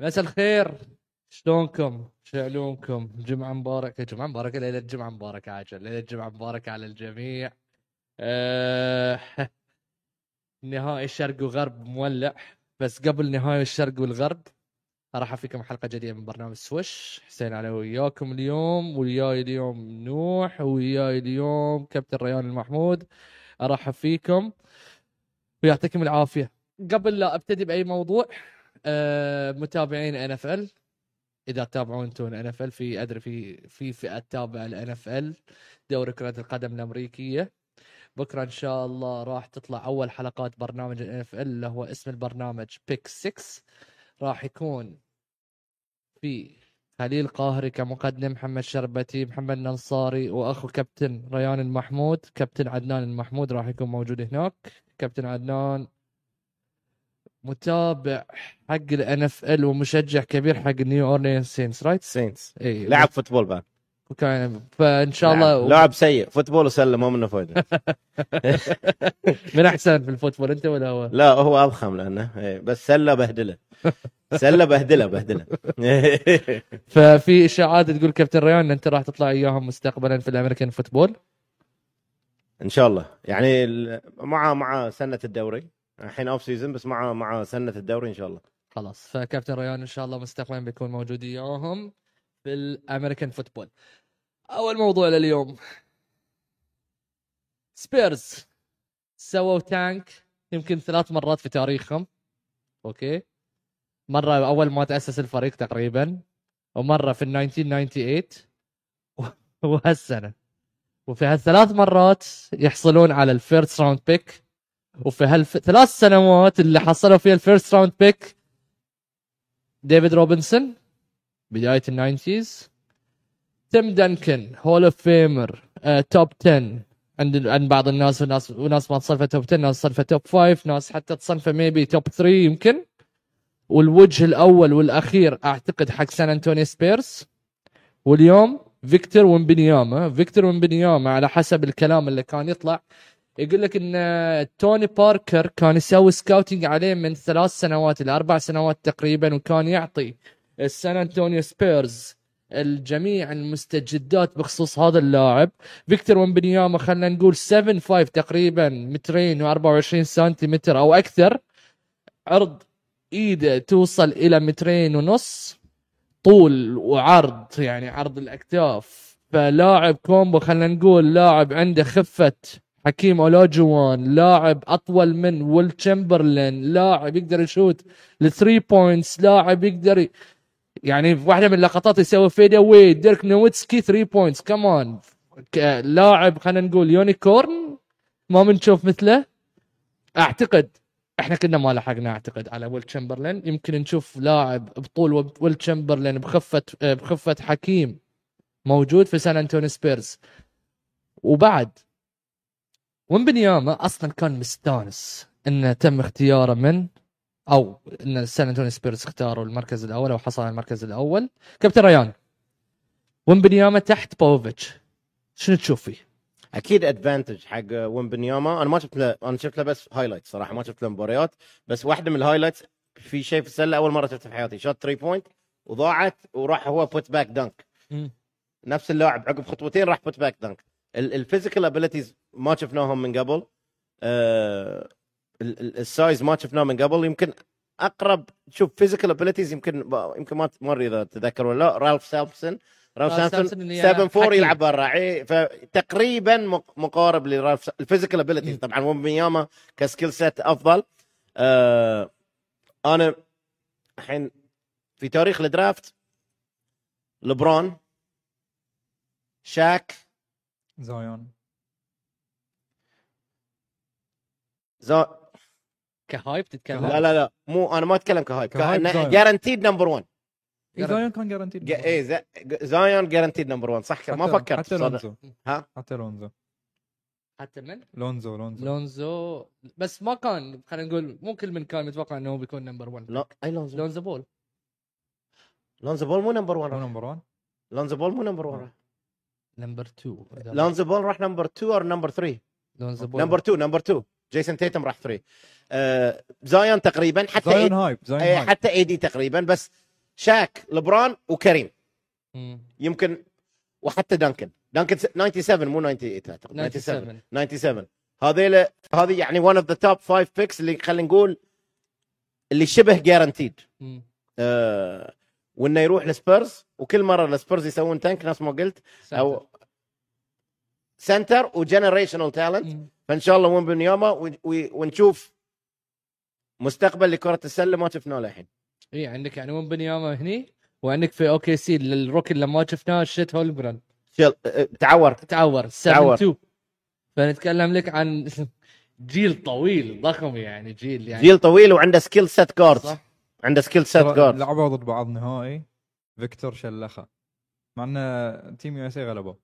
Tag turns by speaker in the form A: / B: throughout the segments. A: مساء الخير شلونكم؟ شعلونكم؟ جمعة مباركة، جمعة مباركة ليلة جمعة مباركة عجل، ليلة جمعة مباركة على الجميع. آه... نهائي الشرق وغرب مولع، بس قبل نهائي الشرق والغرب ارحب فيكم حلقة جديدة من برنامج سويش، حسين علي وياكم اليوم، وياي اليوم نوح، وياي اليوم كابتن ريان المحمود. ارحب فيكم ويعطيكم العافية. قبل لا ابتدي باي موضوع آه، متابعين ان اف ال اذا تتابعون انتم ان اف ال في ادري في في فئه تابعه لان اف ال دوري كره القدم الامريكيه بكره ان شاء الله راح تطلع اول حلقات برنامج الان اف ال اللي هو اسم البرنامج بيك 6 راح يكون في خليل قاهري كمقدم محمد شربتي محمد ننصاري واخو كابتن ريان المحمود كابتن عدنان المحمود راح يكون موجود هناك كابتن عدنان متابع حق الان اف ال ومشجع كبير حق نيو اورلينز سينس رايت؟
B: سينتس
A: اي
B: لعب فوتبول بعد
A: وكان فان إيه، شاء الله
B: لعب, لعب سيء فوتبول وسله مو منه فايده
A: من احسن في الفوتبول انت ولا هو؟
B: لا هو اضخم لانه إيه، بس سله بهدله سله بهدله بهدله
A: ففي اشاعات تقول كابتن ريان ان انت راح تطلع اياهم مستقبلا في الامريكان فوتبول
B: ان شاء الله يعني ال- مع مع سنه الدوري الحين اوف سيزون بس مع مع سنه الدوري ان شاء الله
A: خلاص فكابتن ريان ان شاء الله مستقبلا بيكون موجود وياهم في الامريكان فوتبول اول موضوع لليوم سبيرز سووا تانك يمكن ثلاث مرات في تاريخهم اوكي مره اول ما تاسس الفريق تقريبا ومره في ال 1998 و- وهالسنه وفي هالثلاث مرات يحصلون على الفيرست راوند بيك وفي هالثلاث سنوات اللي حصلوا فيها الفيرست راوند بيك ديفيد روبنسون بدايه الناينتيز تيم دانكن هول اوف فيمر توب 10 عند عند بعض الناس وناس وناس ما تصنفه توب 10 ناس تصنفه توب 5 ناس حتى تصنفه ميبي توب 3 يمكن والوجه الاول والاخير اعتقد حق سان انتوني سبيرس واليوم فيكتور ومبنياما فيكتور ومبنياما على حسب الكلام اللي كان يطلع يقول لك ان آه، توني باركر كان يسوي سكاوتنج عليه من ثلاث سنوات الى اربع سنوات تقريبا وكان يعطي السان انطونيو سبيرز الجميع المستجدات بخصوص هذا اللاعب فيكتور ومبنياما خلينا نقول 7 5 تقريبا مترين و24 سنتيمتر او اكثر عرض ايده توصل الى مترين ونص طول وعرض يعني عرض الاكتاف فلاعب كومبو خلينا نقول لاعب عنده خفه حكيم اولاجوان لاعب اطول من ويل تشمبرلين لاعب يقدر يشوت الثري بوينتس لاعب يقدر ي- يعني في واحده من اللقطات يسوي فيد اواي ديرك نويتسكي ثري بوينتس كمان ك- لاعب خلينا نقول يونيكورن ما بنشوف مثله اعتقد احنا كنا ما لحقنا اعتقد على ويل تشمبرلين يمكن نشوف لاعب بطول ويل تشمبرلين بخفه آه، بخفه حكيم موجود في سان انتوني سبيرز وبعد ومبنياما اصلا كان مستانس انه تم اختياره من او ان سان انتوني سبيرز اختاروا المركز الاول او حصل على المركز الاول كابتن ريان ومبنياما تحت بوفيتش شنو تشوف فيه؟
B: اكيد ادفانتج حق ومبنياما انا ما شفت له انا شفت له بس هايلايت صراحه ما شفت له مباريات بس واحده من الهايلايتس في شيء في السله اول مره شفته في حياتي شوت 3 بوينت وضاعت وراح هو بوت باك دنك
A: مم.
B: نفس اللاعب عقب خطوتين راح بوت باك دنك الفيزيكال ابيلتيز ما شفناهم من قبل آه، ال- ال- السايز ما شفناه من قبل يمكن اقرب شوف فيزيكال ابيلتيز يمكن يمكن ما مر اذا تذكر ولا لا رالف سامسون رالف
A: رالف
B: سامسون
A: سامسون اللي
B: 7 4
A: حكيم.
B: يلعب برا إيه، فتقريبا مق- مقارب لرالف سا- الفيزيكال ابيلتيز
A: مم.
B: طبعا ومبياما كسكيل سيت افضل آه، انا الحين في تاريخ الدرافت لبرون شاك
C: زايون
B: زو...
A: كهايب تتكلم
B: لا لا لا مو انا ما اتكلم كهايب
C: كهايب زايون.
B: جارانتيد نمبر 1
C: إيه، زايون كان جارانتيد
B: اي ز- إيه، زايون جارانتيد نمبر 1 صح ما
C: حتى-
B: فكرت
C: حتى
B: صدق
C: لونزو
B: ها؟
C: حتى لونزو
A: حتى من
C: لونزو لونزو
A: لونزو بس ما كان خلينا نقول مو كل من كان متوقع انه هو بيكون نمبر 1
B: لا اي لونزو
A: لونزو بول
B: لونزو بول مو نمبر
C: هو
B: 1
C: نمبر 1
B: لونزو بول مو نمبر 1
A: نمبر 2
B: لونزو بول راح نمبر 2 او نمبر 3
A: لونزو بول
B: نمبر 2 نمبر 2 جيسون تيتم راح 3 آه، زايون تقريبا حتى
C: زايون
B: إيد-
C: هايب زايون
B: إيه،
C: هايب
B: حتى اي دي تقريبا بس شاك لبران وكريم
A: مم.
B: يمكن وحتى دانكن دانكن س- 97 مو 98 اعتقد 97
A: 97
B: 97 هذيل هذه يعني ون اوف ذا توب 5 بيكس اللي خلينا نقول اللي شبه جارانتيد
A: مم.
B: آه وانه يروح لسبيرز وكل مره السبيرز يسوون تانك نفس ما قلت
A: سنتر.
B: او سنتر وجنريشنال تالنت
A: مم.
B: فان شاء الله وين بنياما ون- وي- ونشوف مستقبل لكره السله ما شفناه للحين
A: اي عندك يعني وين بنياما هني وعندك في اوكي سي الروكي اللي ما شفناه شيت هولمجرن
B: شل- آه، تعور
A: تعور 7
B: تعور.
A: 2 فنتكلم لك عن جيل طويل ضخم يعني جيل يعني
B: جيل طويل وعنده سكيل سيت جارد
A: صح.
B: عنده سكيل سيت
C: ترى
B: جارد
C: لعبوا ضد بعض نهائي فيكتور شلخه مع ان تيم يو اس اي غلبوا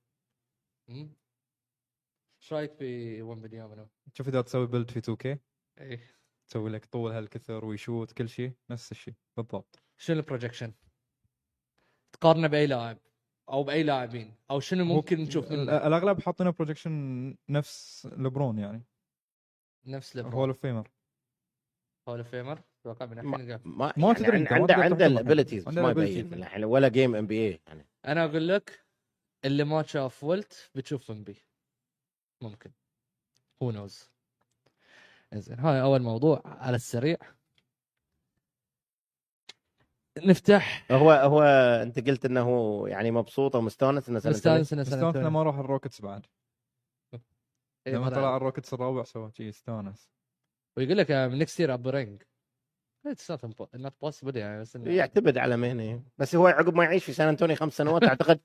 A: مم. ايش رايك في وين بنياما؟
C: شوف اذا تسوي بيلد في 2 كي
A: إيه.
C: تسوي لك طول هالكثر ويشوت كل شيء نفس الشيء بالضبط
A: شنو البروجكشن؟ تقارنه باي لاعب او باي لاعبين او شنو ممكن نشوف
C: ال-
A: من
C: الاغلب حاطين بروجكشن نفس لبرون يعني
A: نفس
C: هول
A: ليفل
C: اوف فيمر
A: هول فيمر اتوقع من الحين نقف.
B: ما, يعني
C: ما تدري أنت، ما
B: عنده
C: تقدر
B: عنده
C: تحكم.
B: الابيلتيز
C: عنده
B: ما
C: ال abilities.
B: يبين من الحين ولا جيم ام بي اي يعني
A: انا اقول لك اللي ما شاف ولت بتشوف بي ممكن هو نوز زين هاي اول موضوع على السريع نفتح
B: هو هو انت قلت انه هو يعني مبسوط ومستانس انه سنة
A: مستانس إنه سان
C: استانس
A: أنطونيو.
C: لما راح الروكتس بعد
A: إيه،
C: لما
A: مرة.
C: طلع الروكتس الرابع سوى شيء استانس
A: ويقول لك نكست يير اب رينج اتس نوت بوسيبل يعني بس إنه-
B: يعتمد على مهنه بس هو عقب ما يعيش في سان انطوني خمس سنوات اعتقد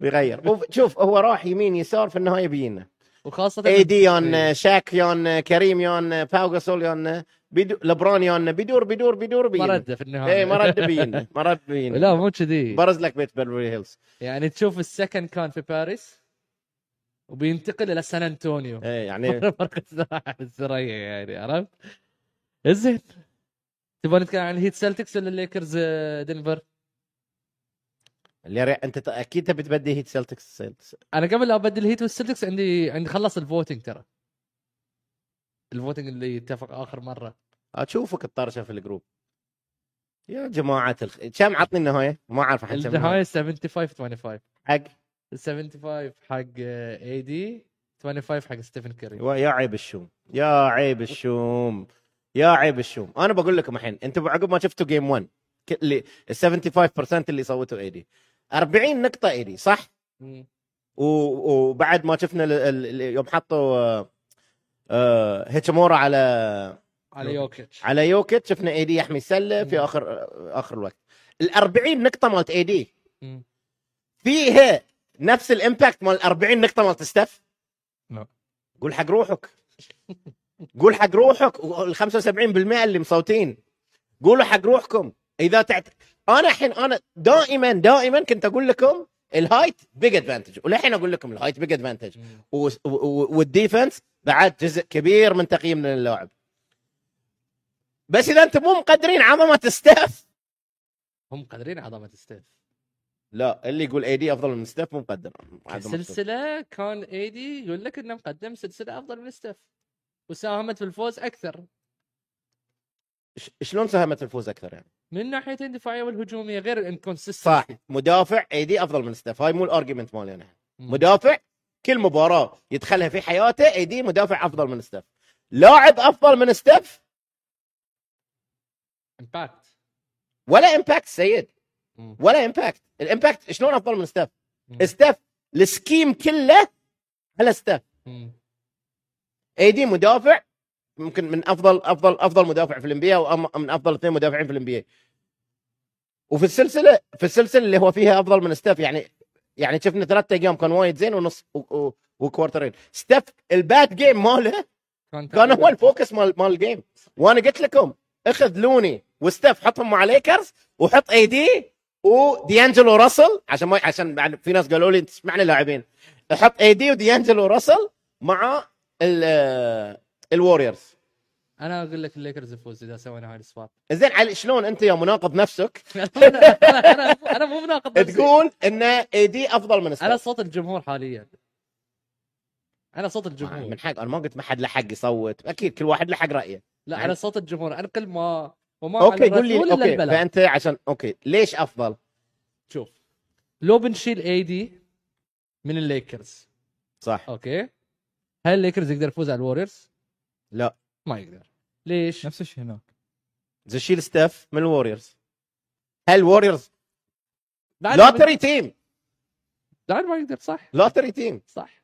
B: بيغير وف- شوف هو راح يمين يسار في النهايه بينا
A: وخاصه
B: اي دي يون
A: إيه.
B: شاك يون كريم يون باو جاسول يون بيدو لبرون يون بيدور بيدور بيدور إيه،
A: ما
B: بينا
A: رده في النهايه
B: اي ما رد بينا ما رد بينا
A: لا مو كذي
B: برز لك بيت بيرلي هيلز
A: يعني تشوف السكند كان في باريس وبينتقل الى سان انطونيو
B: إيه، يعني
A: فرق ساعة السريع يعني عرفت؟ زين تبغى نتكلم عن الهيت سلتكس ولا الليكرز آه، دنفر؟
B: اللي ري- انت ت- اكيد تبي تبدي هيت سلتكس
A: انا قبل لا ابدل الهيت والسلتكس عندي عندي خلص الفوتنج ترى الفوتنج اللي اتفق اخر مره
B: اشوفك الطرشه في الجروب يا جماعه الخ... كم عطني النهايه ما اعرف الحين كم
A: النهايه 75 25
B: حق
A: 75 حق آه، اي دي 25 حق ستيفن كيري
B: يا عيب الشوم يا عيب الشوم يا عيب الشوم انا بقول لكم الحين انتم عقب ما شفتوا جيم 1 ك- اللي ال 75% اللي صوتوا ايدي 40 نقطه ايدي صح
A: مم.
B: و- وبعد ما شفنا ال- ال- ال- يوم حطوا آه، آه، هيتشمورا على
A: على يوكيتش
B: على يوكيت شفنا ايدي يحمي السله في
A: مم.
B: اخر اخر الوقت ال 40 نقطه مالت ايدي
A: مم.
B: فيها نفس الامباكت مال 40 نقطه مالت ستيف
C: لا.
B: قول حق روحك قول حق روحك وال 75% اللي مصوتين قولوا حق روحكم اذا تعت... انا الحين انا دائما دائما كنت اقول لكم الهايت بيج ادفانتج وللحين اقول لكم الهايت بيج ادفانتج
A: مم.
B: و- و- والديفنس بعد جزء كبير من تقييمنا للاعب بس اذا انتم مو مقدرين عظمه ستيف
A: هم قادرين عظمه ستيف
B: لا اللي يقول اي دي افضل من ستيف مو مقدر عظمة ستيف.
A: سلسله كان ايدي يقول لك انه مقدم سلسله افضل من ستيف وساهمت في الفوز اكثر
B: ش- شلون ساهمت الفوز اكثر يعني
A: من الناحيتين الدفاعيه والهجوميه غير الانكونسستنت
B: صح مدافع اي دي افضل من ستيف هاي مو الارجيومنت مالي انا مدافع كل مباراه يدخلها في حياته اي دي مدافع افضل من ستيف لاعب افضل من ستيف
A: امباكت
B: ولا امباكت سيد ولا امباكت الامباكت شلون افضل من ستيف ستيف السكيم كله على ستيف اي دي مدافع ممكن من افضل افضل افضل مدافع في الانبياء ومن افضل اثنين مدافعين في الانبياء وفي السلسله في السلسله اللي هو فيها افضل من ستاف يعني يعني شفنا ثلاثة ايام كان وايد زين ونص و- و- وكوارترين ستاف البات جيم ماله كان هو الفوكس مال مال الجيم وانا قلت لكم اخذ لوني وستاف حطهم مع ليكرز وحط اي دي وديانجلو راسل عشان ما عشان بعد في ناس قالوا لي تسمعني لاعبين حط اي دي وديانجلو راسل مع ال- آه، الوريورز
A: انا اقول لك الليكرز يفوز اذا سوينا هاي السواب
B: زين علي شلون انت يا مناقض نفسك
A: انا أنا- انا مو مناقض نفسي.
B: تقول ان اي دي افضل من
A: انا
B: ستاف
A: صوت الجمهور حاليا انا صوت الجمهور
B: من حق انا ما قلت ما حد له حق يصوت اكيد كل واحد له حق رايه
A: لا انا صوت الجمهور انا كل ما وما
B: اوكي
A: على
B: قول لي
A: الرسول إلا
B: اوكي
A: البلاغ.
B: فانت عشان اوكي ليش افضل؟
A: شوف لو بنشيل اي دي من الليكرز
B: صح
A: اوكي هل الليكرز يقدر يفوز على الوريورز؟
B: لا.
A: ما يقدر ليش؟
C: نفس الشيء هناك
B: زي شيل ستاف من الوريورز هل الوريورز
A: بعد ما-
B: لوتري تيم
A: بعد ما يقدر صح
B: لوتري تيم
A: صح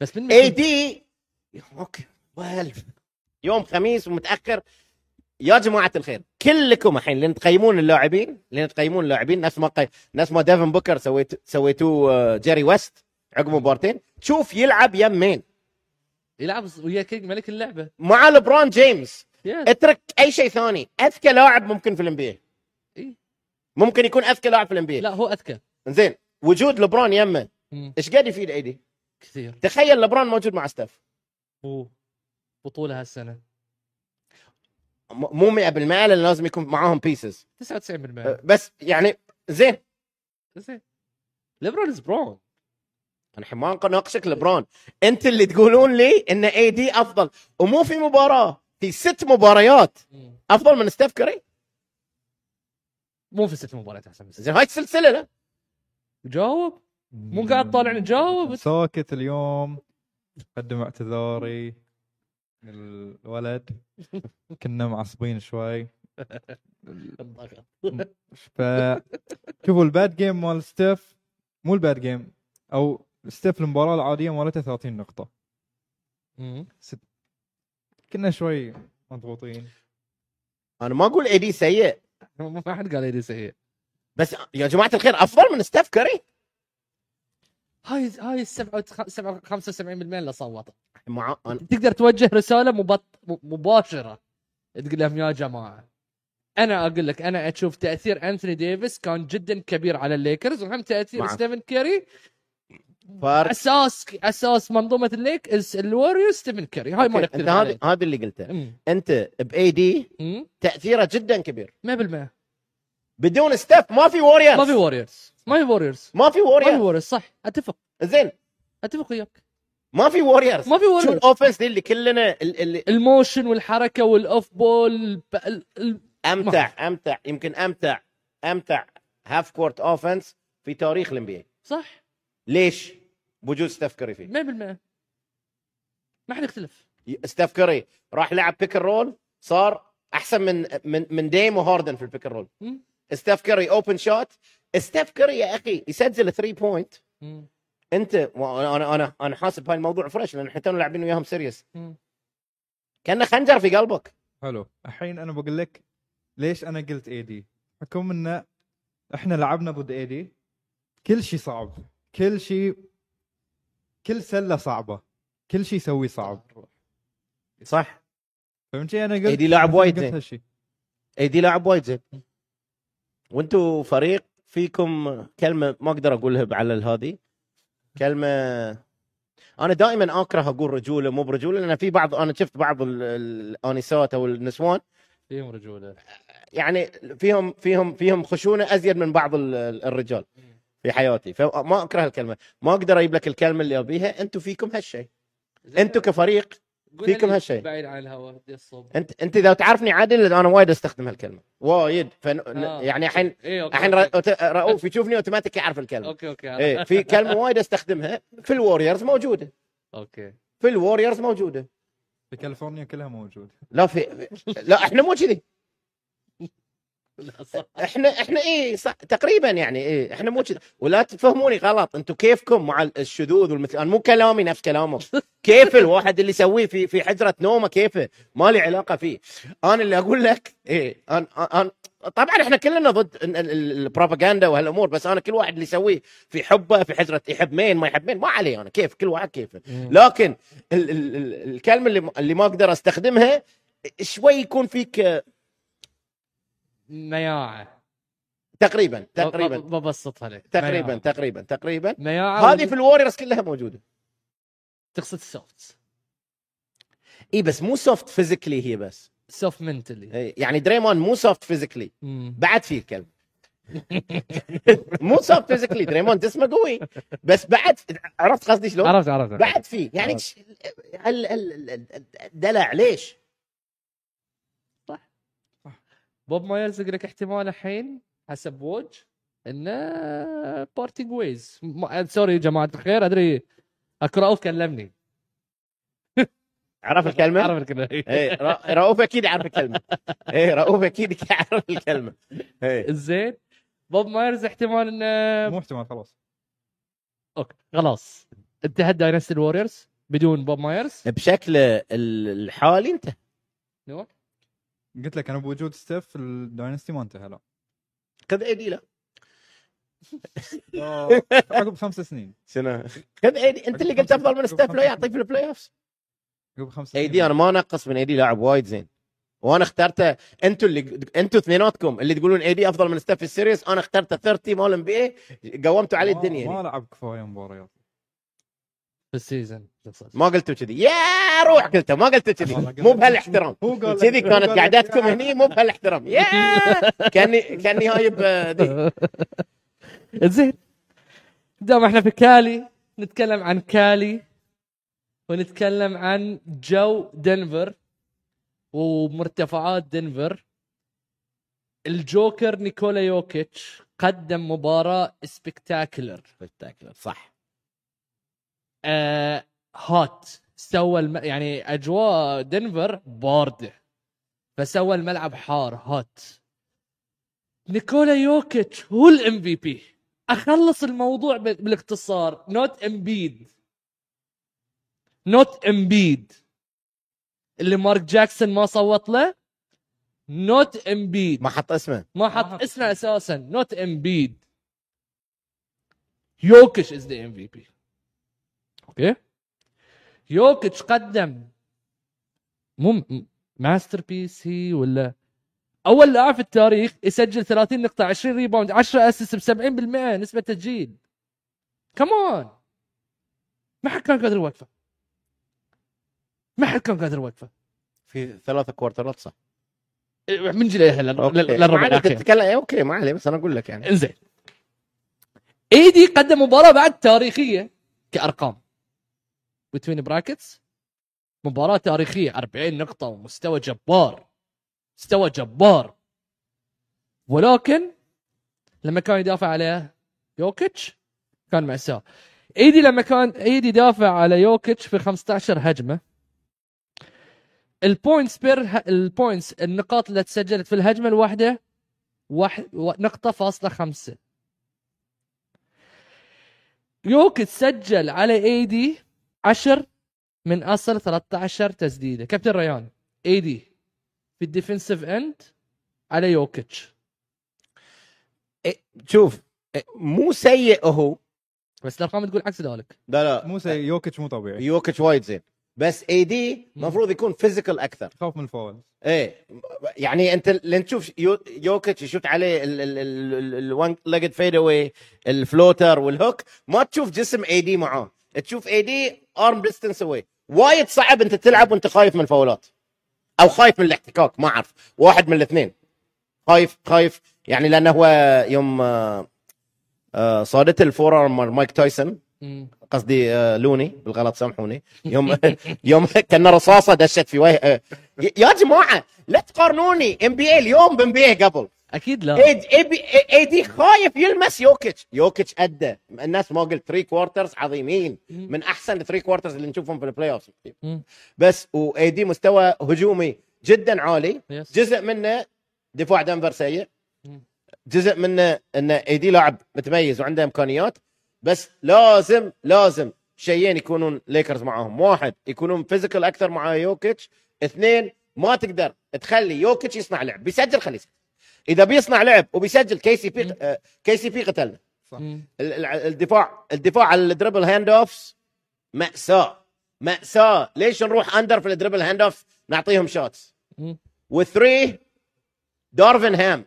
A: بس من
B: اي دي اوكي والف يوم خميس ومتاخر يا جماعه الخير كلكم الحين لان تقيمون اللاعبين لان تقيمون اللاعبين نفس ما قي... نفس ما ديفن بوكر سويت سويتوه آه، جيري ويست عقب مبارتين تشوف يلعب يم مين
A: يلعب ويا كينج ملك اللعبه
B: مع لبرون جيمس
A: يس.
B: اترك اي شيء ثاني اذكى لاعب ممكن في الانبي
A: إيه.
B: ممكن يكون اذكى لاعب في الانبي
A: لا هو اذكى
B: زين وجود لبرون يمه
A: مم.
B: ايش قاعد يفيد ايدي؟
A: كثير
B: تخيل لبرون موجود مع ستاف
A: و- بطوله هالسنه
B: م- مو 100% لان لازم يكون معاهم بيسز
A: 99%
B: بس يعني زين
A: زين ليبرون از برون
B: انا الحين ما اناقشك لبرون انت اللي تقولون لي ان اي دي افضل ومو في مباراه في ست مباريات افضل من ستيف كري
A: مو في ست مباريات احسن من ست.
B: زين هاي السلسله لا
A: جاوب مو قاعد تطالعني جاوب
C: ساكت اليوم اقدم اعتذاري الولد كنا معصبين شوي
A: الضغط.
C: ف شوفوا الباد جيم مال ستيف مو الباد جيم او ستيف المباراه العاديه مالته 30 نقطه
A: مم.
C: كنا شوي مضغوطين
B: انا ما اقول اي دي سيء
A: ما حد قال لي سيء
B: بس يا جماعه الخير افضل من ستيف كري
A: هاي هاي السبعة وتخ- سبعة- 75% اللي صوتوا
B: مع أنا
A: تقدر توجه رساله مبط... مباشره تقول لهم يا جماعه انا اقول لك انا اشوف تاثير انثوني ديفيس كان جدا كبير على الليكرز وهم تاثير
B: معك.
A: ستيفن كيري
B: فارق
A: اساس اساس منظومه الليك الوريوز ستيفن كيري هاي ما
B: أوكي،
A: نختلف
B: انت هذا
A: عليه
B: هذا اللي قلته
A: أمم.
B: انت باي دي
A: أمم.
B: تاثيره جدا كبير
A: 100% ما
B: بدون ستيف ما في ووريرز
A: في ووريرز ما في ووريرز
B: ما في
A: ما في
B: ووريرز
A: ووريرز صح اتفق
B: زين
A: اتفق وياك
B: ما في ووريرز
A: ما في
B: شو
A: ووريرز
B: الاوفنس دي اللي كلنا ال- اللي
A: الموشن والحركه والاوف بول الب- ال- ال-
B: امتع امتع يمكن امتع امتع هاف كورت اوفنس في تاريخ الانبي
A: صح
B: ليش؟ بوجود ستيف كري فيه
A: 100% ما حد يختلف
B: ستيف كري راح لعب بيك أند رول صار احسن من من من ديم وهاردن في البيك أند رول
A: مم.
B: ستيف كري اوبن شوت ستيف كري يا اخي يسجل 3 بوينت
A: أمم.
B: انت وانا انا انا انا حاسب هاي الموضوع فريش لان احنا تونا لاعبين وياهم سيريس
A: مم.
B: كانه خنجر في قلبك
C: حلو الحين انا بقول لك ليش انا قلت اي دي حكم ان احنا لعبنا ضد اي دي كل شيء صعب كل شيء كل سله صعبه كل شيء يسويه صعب
B: صح
C: فهمت شي انا قلت
B: AD لاعب وايد
C: قلت
B: زين.
C: هالشيء
B: اي إيه، دي لاعب وايد زين وانتم فريق فيكم كلمه ما اقدر اقولها على الهادي كلمه انا دائما اكره اقول رجوله مو برجوله لان في بعض انا شفت بعض ال- ال- الانسات او النسوان
A: فيهم رجوله
B: يعني فيهم فيهم فيهم خشونه ازيد من بعض ال- ال- الرجال في حياتي فما اكره الكلمه ما اقدر اجيب لك الكلمه اللي ابيها انتم فيكم هالشيء انتم كفريق
A: قول
B: فيكم
A: لي
B: هالشيء.
A: بعيد عن الهواء بدي الصوب
B: انت انت اذا تعرفني عادل انا وايد استخدم هالكلمه وايد فن...
A: آه.
B: يعني الحين
A: ايه اوكي
B: الحين
A: اوكي
B: رأ- رؤوف يشوفني اوتوماتيك يعرف الكلمه
A: اوكي اوكي,
B: ايه في كلمه وايد استخدمها في الوريورز موجوده
A: أوكي.
B: في الوريورز موجوده
C: في كاليفورنيا كلها موجود
B: لا في لا احنا مو كذي
A: لا صح
B: احنا احنا ايه صح تقريبا يعني ايه احنا مو كذي ولا تفهموني غلط انتم كيفكم مع الشذوذ والمثل انا مو كلامي نفس كلامك كيف الواحد اللي يسويه في في حجره نومه كيفه ما لي علاقه فيه انا اللي اقول لك ايه انا انا طبعا احنا كلنا ضد ال- ال- ال- البروباغندا وهالامور بس انا كل واحد اللي يسويه في حبه في حجره يحب مين ما يحب مين ما علي انا كيف كل واحد كيفه لكن ال ال ال الكلمه اللي اللي ما اقدر استخدمها شوي يكون فيك آه،
A: مياعه
B: تقريبا تقريبا
A: ب- ب- ببسطها لك
B: تقريبا
A: مياعة.
B: تقريبا تقريبا
A: مياعه
B: هذه في الوريرز كلها موجوده
A: تقصد سوفت
B: اي بس مو سوفت فيزيكلي هي بس
A: سوفت منتلي
B: إي، يعني دريمون مو سوفت فيزيكلي بعد فيه الكلمه مو سوفت فيزيكلي دريمون جسمه قوي بس بعد عرفت قصدي شلون؟
A: عرفت عرفت
B: بعد فيه يعني ش- ال- ال- ال- الدلع ليش؟
A: بوب مايرز يقول لك احتمال الحين حسب ووج انه بارتنج ويز سوري يا جماعه الخير ادري اكراو كلمني
B: عرف الكلمه؟
A: اعرف الكلمه
B: ايه را- رؤوف اكيد يعرف الكلمه ايه رؤوف اكيد يعرف الكلمه ايه
A: زين بوب مايرز احتمال انه
C: مو احتمال خلاص
A: اوكي خلاص انتهت داينستي الوريورز بدون بوب مايرز
B: إيه. بشكله ال- الحالي انت
A: نوح
C: قلت لك انا بوجود ستيف الداينستي ما انتهى لا
B: خذ ايدي لا
C: عقب خمس سنين
B: شنو خذ ايدي انت اللي قلت افضل من ستيف لا يعطيه في البلاي اوفز
C: عقب خمس سنين
B: ايدي انا ما نقص من ايدي لاعب وايد زين وانا اخترته انتوا اللي انتوا اثنيناتكم اللي تقولون ايدي افضل من ستيف في السيريس انا اخترته 30 مال ام بي اي قومتوا عليه
C: ما-
B: الدنيا
C: ما
B: يعني.
C: لعب كفايه مباريات
A: في السيزون تقصد.
B: ما قلتوا كذي يا روح قلتوا ما قلتوا كذي مو بهالاحترام
C: هو قال لك-
B: كذي
C: هو قال
B: كانت
C: لك
B: قعدتكم
C: يا-
B: هني مو بهالاحترام يا كاني كاني هايب آه، ذي
A: زين دام احنا في كالي نتكلم عن كالي ونتكلم عن جو دنفر ومرتفعات دنفر الجوكر نيكولا يوكيتش قدم مباراة سبكتاكلر
B: سبكتاكلر صح
A: آه هات سوى الم... يعني اجواء دنفر بارده فسوى الملعب حار هات نيكولا يوكيتش هو الام في بي اخلص الموضوع ب... بالاختصار نوت امبيد نوت امبيد اللي مارك جاكسون ما صوت له نوت امبيد
B: ما حط اسمه
A: ما
C: ما
A: حط
C: حط
A: اسمه اساسا نوت امبيد يوكش از ذا ام في بي اوكي يوكش قدم مو ماستر بيس هي ولا اول لاعب في التاريخ يسجل 30 نقطه 20 ريباوند 10 اسس ب 70% نسبه تسجيل كمان ما حد كان قادر يوقفه ما حد كان قادر يوقفه
B: في ثلاثة كوارترات صح
A: من جليها للربع
B: ما عليك
A: الاخير
B: تتكلم إيه، اوكي ما عليه بس انا اقول لك يعني
A: انزين ايدي قدم مباراه بعد تاريخيه كارقام بتوين براكتس مباراه تاريخيه 40 نقطه ومستوى جبار مستوى جبار ولكن لما كان يدافع على يوكيتش كان مأساة ايدي لما كان ايدي دافع على يوكيتش في 15 هجمه البوينتس بير البوينتس النقاط اللي تسجلت في الهجمه الواحده واحد و- نقطة فاصلة خمسة يوكيتش سجل على ايدي 10 من اصل 13 تسديده كابتن ريان ايدي في الديفنسيف اند على يوكيتش
B: شوف إيه، مو سيء هو
A: بس الارقام تقول عكس ذلك
B: لا لا
C: مو سي يوكيتش مو طبيعي
B: يوكيتش وايد زين بس اي دي المفروض يكون فيزيكال اكثر
C: خاف من الفاول
B: ايه يعني انت لين تشوف يو- يوكيتش يشوت عليه الون ليجد فيد اواي الفلوتر والهوك ما تشوف جسم اي دي معاه تشوف اي دي ارم ديستنس اواي وايد صعب انت تلعب وانت خايف من الفاولات او خايف من الاحتكاك ما اعرف واحد من الاثنين خايف خايف يعني لانه هو يوم آه، آه، صادته الفور ارم مال مايك تايسون
A: مم.
B: قصدي آه، لوني بالغلط سامحوني يوم يوم كان رصاصه دشت في وجه آه، ي- يا جماعه لا تقارنوني ام بي اي اليوم بام بي اي قبل
A: اكيد لا
B: إيه؟ اي دي خايف يلمس يوكيتش يوكيتش ادى الناس ما قلت 3 كوارترز عظيمين من احسن 3 كوارترز اللي نشوفهم في البلاي اوف
A: مم.
B: بس واي دي مستوى هجومي جدا عالي
A: يس.
B: جزء منه دفاع دنفر سيء
A: مم.
B: جزء منه ان اي دي لاعب متميز وعنده امكانيات بس لازم لازم شيئين يكونون ليكرز معاهم واحد يكونون فيزيكال اكثر مع يوكيتش اثنين ما تقدر تخلي يوكيتش يصنع لعب بيسجل خليه يسجل. اذا بيصنع لعب وبيسجل كي سي بي كي سي بي قتلنا
A: مم.
B: ال- ال- الدفاع الدفاع على الدربل هاند اوفز ماساه ماساه ليش نروح اندر في الدربل هاند اوف نعطيهم شوتس
A: مم.
B: وثري دارفن هام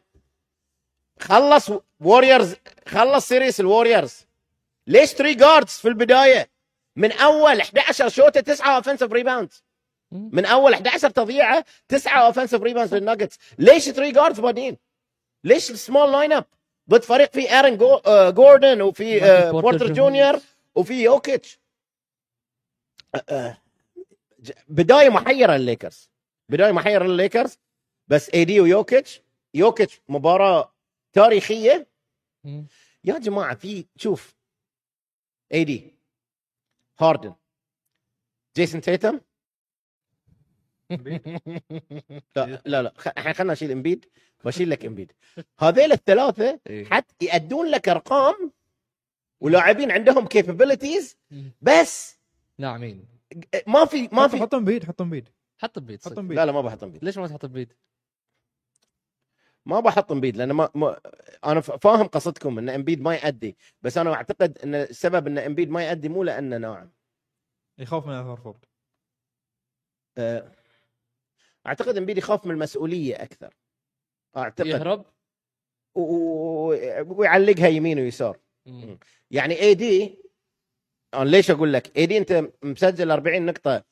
B: خلص ووريرز خلص سيريس الووريرز ليش ثري جاردز في البدايه من اول 11 شوطه تسعه اوفنسيف ريباوند
A: مم.
B: من اول 11 تضييعه تسعه اوفنسيف ريباوند للناجتس ليش ثري جاردز بادين ليش السمول لاين اب ضد فريق فيه ارن جو... آه، جوردن وفي آه،
A: مايكل بورتر
B: بورتر جونيور وفي يوكيتش آه، آه، ج- بدايه محيره للليكرز بدايه محيره للليكرز بس اي دي ويوكيتش يوكيتش مباراه تاريخيه
A: مم.
B: يا جماعه في شوف اي دي هاردن جيسون تيتم لا لا لا خ- الحين خلنا نشيل امبيد بشيل لك امبيد هذيل الثلاثه
A: إيه.
B: حتى يأدون لك ارقام ولاعبين عندهم كيبابيلتيز بس
A: ناعمين
B: ما في ما في
C: حطهم بيد حطهم بيد
A: حطهم بيد صدق.
C: حطهم بيد
B: لا لا ما بحط امبيد
A: ليش ما تحط بيد؟
B: ما بحط امبيد لان ما, ما انا ف- فاهم قصدكم ان امبيد ما يأدي بس انا اعتقد ان السبب ان امبيد ما يأدي مو لانه ناعم
C: يخاف من الهارفورد
B: أه، اعتقد امبيد يخاف من المسؤوليه اكثر اعتقد
A: يهرب
B: و- و- ويعلقها يمين ويسار
A: مم.
B: يعني اي دي انا ليش اقول لك اي دي انت مسجل 40 نقطه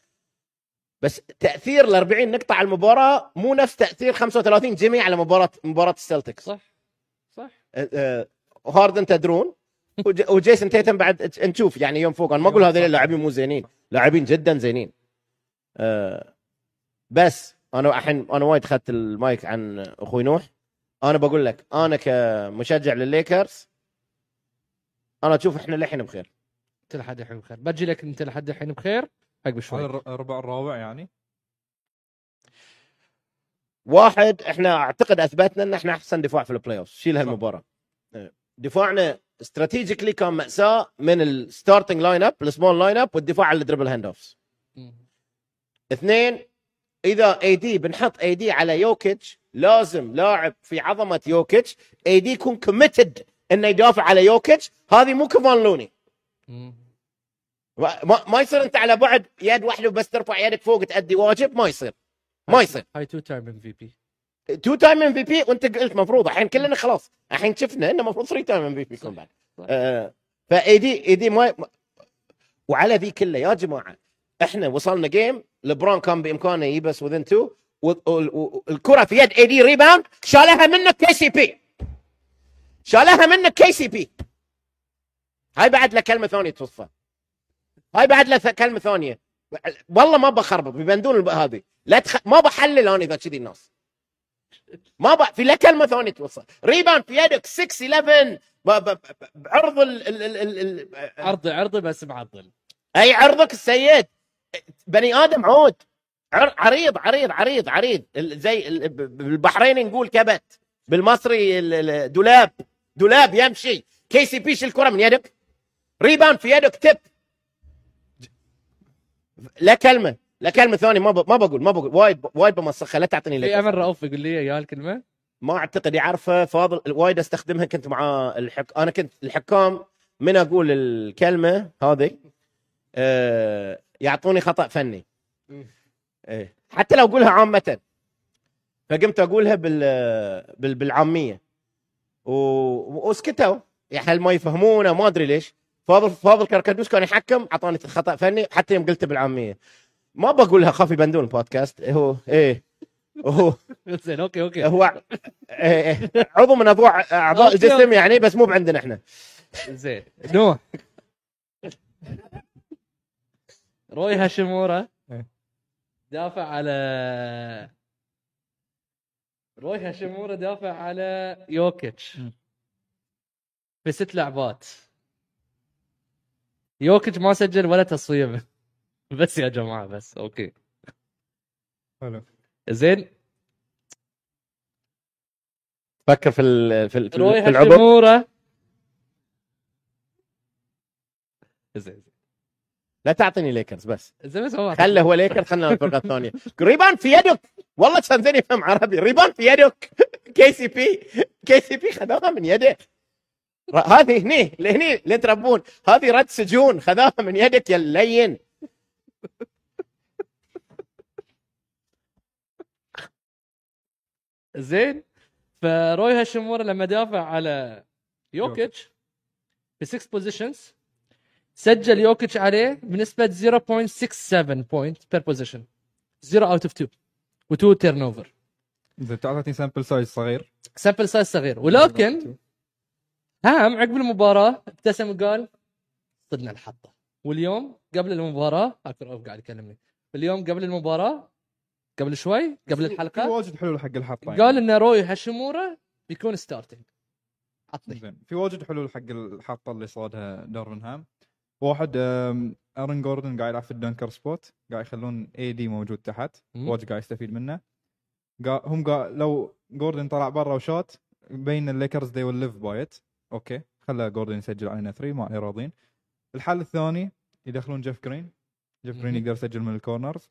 B: بس تاثير ال 40 نقطه على المباراه مو نفس تاثير 35 جيمي على مباراه مباراه السلتكس
A: صح صح
B: أه، أه، هاردن تدرون وج- وجيسون تيتم بعد ت- نشوف يعني يوم فوق انا ما اقول هذول اللاعبين مو زينين لاعبين جدا زينين أه، بس انا الحين انا وايد اخذت المايك عن اخوي نوح انا بقول لك انا كمشجع للليكرز انا اشوف احنا للحين بخير
A: انت لحد الحين بخير بجي لك انت لحد الحين بخير حق
C: على
A: بشوي
C: الر- الربع الرابع يعني
B: واحد احنا اعتقد اثبتنا ان احنا احسن دفاع في البلاي اوف شيل
C: صح.
B: هالمباراه إيه. دفاعنا استراتيجيكلي كان ماساه من الستارتنج لاين اب السمول لاين اب والدفاع على الدربل هاند اوفز
A: مم.
B: اثنين اذا اي دي بنحط اي دي على يوكيتش لازم لاعب في عظمه يوكيتش اي دي يكون كوميتد انه يدافع على يوكيتش هذه مو كفان لوني
A: مم.
B: ما, ما يصير انت على بعد يد واحده بس ترفع يدك فوق تأدي واجب ما يصير ما يصير
A: هاي تو تايم ام في بي
B: تو تايم ام في بي وانت قلت مفروض الحين كلنا خلاص الحين شفنا انه المفروض 3 تايم ام في بي يكون بعد
A: صح.
B: آه فاي دي اي دي ما وعلى ذي كله يا جماعه احنا وصلنا جيم لبرون كان بامكانه يجيب بس وذن تو والكره في يد اي دي ريباوند شالها منك كي سي بي شالها منك كي سي بي هاي بعد له كلمه ثانيه توصفها هاي بعد له كلمه ثانيه والله ما بخربط ببندون الب- هذه لا تخ... ما بحلل انا اذا كذي الناس ما بق... في لا كلمه ثانيه توصل ريبان في يدك 6 11 ب... ب... ب... بعرض ال... ال... ال... ال... ال...
A: عرضي عرضي بس معضل
B: اي عرضك السيد بني ادم عود عر... عريض عريض عريض عريض ال- زي ال... ب- بالبحريني نقول كبت بالمصري ال... ال... دولاب دولاب يمشي كي سي بي شيل الكره من يدك ريبان في يدك تب لا كلمه لا كلمه ثانيه ما ب... ما بقول ما بقول وايد وايد بمسخها لا تعطيني
A: في
B: لك
A: امل رؤوف يقول لي اياها الكلمه
B: ما اعتقد يعرفه فاضل وايد استخدمها كنت مع الحك... انا كنت الحكام من اقول الكلمه هذه آه... يعطوني خطا فني
A: مم.
B: إيه. حتى لو اقولها عامه فقمت اقولها بال... بال... بالعاميه و... وسكتوا يا حل ما يفهمونه ما ادري ليش فاضل فاضل كركدوس كان يحكم اعطاني خطا فني حتى يوم قلتها بالعاميه ما بقولها خاف يبندون البودكاست هو ايه هو
A: زين اوكي اوكي
B: هو إيه إيه عضو من عضو اعضاء
A: أوكي،
B: الجسم
A: أوكي.
B: يعني بس مو بعندنا احنا
A: زين
C: نوح
A: روي هاشيمورا
C: إيه.
A: دافع على روي هاشيمورا دافع على يوكيتش
C: مم.
A: في ست لعبات يوكيتش ما سجل ولا تصويبه بس يا جماعه بس اوكي
C: حلو
A: زين
B: فكر في ال في, ال في,
A: روي
B: ال- في العضو
A: هاشيمورا زين
B: لا تعطيني ليكرز بس
A: زين بس هو
B: خله هو ليكرز خلنا الفرقه الثانيه ريبان في يدك والله كان زين يفهم عربي ريبان في يدك كي سي بي كي سي بي خذاها من يده ر- هذه هني لهني اللي تربون هذه رد سجون خذاها من يدك يا اللين
A: زين فروي هاشيمورا لما دافع على يوكيتش في 6 بوزيشنز سجل يوكيتش عليه بنسبه 0.67 بوينت بير بوزيشن 0 اوت اوف 2 و2 تيرن اوفر
C: زين تعطيني سامبل سايز صغير
A: سامبل سايز صغير ولكن هام عقب المباراه ابتسم وقال صدنا الحظه واليوم قبل المباراه اكثر اوف قاعد يكلمني اليوم قبل المباراه قبل شوي قبل
C: في
A: الحلقه
C: واجد حلول حق يعني. الحطه
A: قال ان روي هاشيمورا بيكون ستارتنج عطني
C: زين في واجد حلول حق الحطه اللي صادها دورنهام واحد آم، ارن جوردن قاعد يلعب في الدنكر سبوت قاعد يخلون اي دي موجود تحت
A: مم.
C: واجد قاعد يستفيد منه قا... هم قا... لو جوردن طلع برا وشوت بين الليكرز they will live by it اوكي خلى جوردن يسجل علينا 3 ما عليه راضين الحل الثاني يدخلون جيف جرين جيف جرين
A: مهم.
C: يقدر يسجل من الكورنرز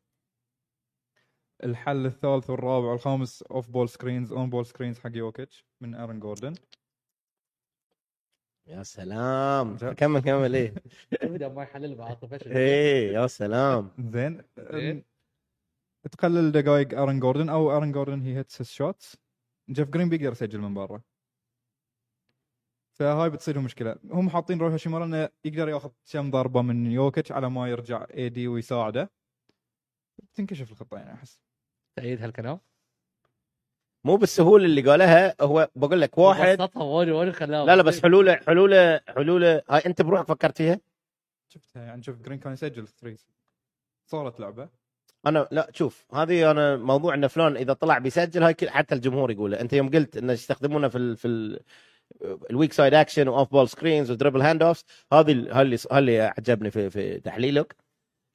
C: الحل الثالث والرابع والخامس اوف بول سكرينز اون بول سكرينز حق يوكيتش من ارن جوردن
B: يا سلام كمل كمل ايه
A: ابدا ما يحلل بعاطفه
B: ايه يا سلام
C: زين
A: زين.
C: أم، um, تقلل دقائق ارن جوردن او ارن جوردن هي هيتس الشوتس جيف جرين بيقدر يسجل من برا فهاي بتصير لهم مشكله هم حاطين روح هاشيمورا انه يقدر ياخذ كم ضربه من يوكيتش على ما يرجع اي دي ويساعده تنكشف الخطه يعني احس
A: تأيد هالكلام
B: مو بالسهوله اللي قالها هو بقول لك واحد
A: بسطها واجد واجد خلاها
B: لا لا بس حلوله حلوله حلوله هاي انت بروحك فكرت فيها
C: شفتها يعني شوف جرين كان يسجل ثريز صارت لعبه
B: انا لا شوف هذه انا موضوع ان فلان اذا طلع بيسجل هاي كل- حتى الجمهور يقوله انت يوم قلت انه يستخدمونه في ال في ال الويك سايد اكشن واوف بول سكرينز ودربل هاند اوفز هذه ال- هاي اللي هاي اللي عجبني في في تحليلك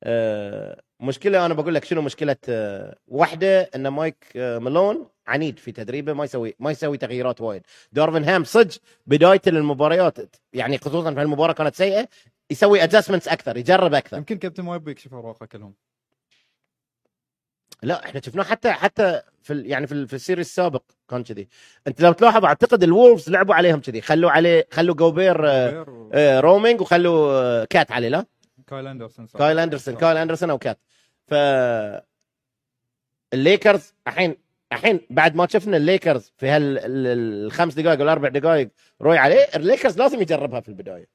B: أه مشكله انا بقول لك شنو مشكله أه واحده ان مايك أه مالون عنيد في تدريبه ما يسوي ما يسوي تغييرات وايد دارفن هام صدق بدايه المباريات يعني خصوصا في المباراه كانت سيئه يسوي ادجستمنتس اكثر يجرب اكثر
C: يمكن كابتن ما يبي يكشف اوراقه كلهم
B: لا احنا شفناه حتى حتى في ال- يعني في, ال- في السيريز السابق كان كذي انت لو تلاحظ اعتقد الولفز لعبوا عليهم كذي خلوا عليه خلوا جوبير آه،
C: غير و-
B: آه، رومينج وخلوا آه، كات عليه لا
C: كايل اندرسون صار.
B: كايل اندرسون
C: صار.
B: كايل اندرسون او كات ف الليكرز الحين الحين بعد ما شفنا الليكرز في هال ال- ال- الخمس دقائق والاربع دقائق روي عليه الليكرز لازم يجربها في البدايه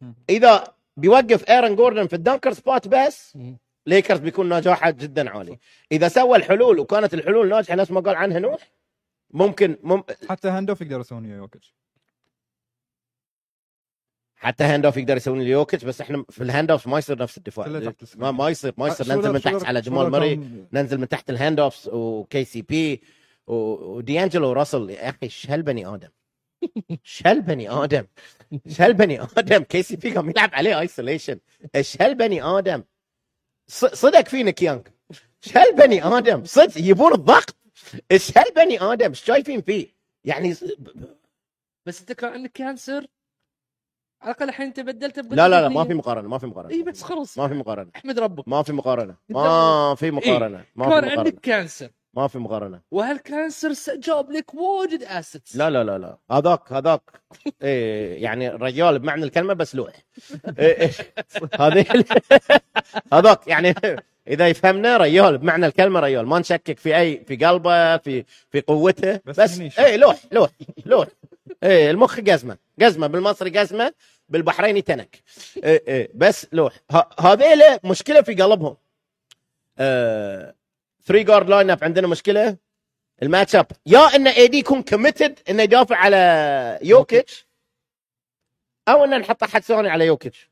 C: مم.
B: اذا بيوقف ايرن جوردن في الدنكر سبوت بس
A: مم.
B: ليكرز بيكون نجاحه جدا عالي اذا سوى الحلول وكانت الحلول ناجحه نفس ما قال عنها نوح ممكن مم
C: حتى هاندوف يقدر يسوون ويا يوكيتش
B: حتى هاند اوف يقدر يسوون اليوكيتش بس احنا في الهاند اوف ما يصير نفس الدفاع
C: كله تحت السكور.
B: ما, ما يصير ما
C: آه،
B: يصير ننزل من تحت على جمال مري ننزل من تحت الهاند اوفس وكي سي بي و- ودي انجلو راسل يا اخي ايش هالبني ادم ايش هالبني ادم ايش هالبني ادم كي سي بي قام يلعب عليه ايسوليشن ايش هالبني ادم ص- صدق في نيك يانج ايش هالبني ادم صدق يبون الضغط ايش هالبني ادم ايش شايفين فيه يعني س-
A: بس انت كانك كانسر على الاقل الحين انت بدلته بقدرة
B: لا لا لا ما
A: بدنية.
B: في مقارنه ما في مقارنه
A: اي إيه؟ بس إيه، خلص
B: ما في مقارنه
A: احمد ربك
B: ما في مقارنه ما في مقارنه ما في
A: كان
B: مقارنه
A: عندك كانسر
B: ما في مقارنه
A: وهالكانسر س- جاب لك واجد اسيتس
B: لا لا لا لا هذاك هذاك إيه يعني الرجال بمعنى الكلمه بس لوح إيه إيه. هذه هذاك يعني اذا يفهمنا ريال بمعنى الكلمه ريال ما نشكك في اي في قلبه في في قوته
C: بس
B: بس, بس
C: هني شك.
B: اي لوح لوح لوح اي المخ قزمه قزمه بالمصري قزمه بالبحريني تنك اي اي بس لوح ه- هذيله مشكله في قلبهم آه، ثري جارد لاين اب عندنا مشكله الماتش اب يا ان اي دي يكون كوميتد انه يدافع على يوكيتش او انه نحط احد ثاني على يوكيتش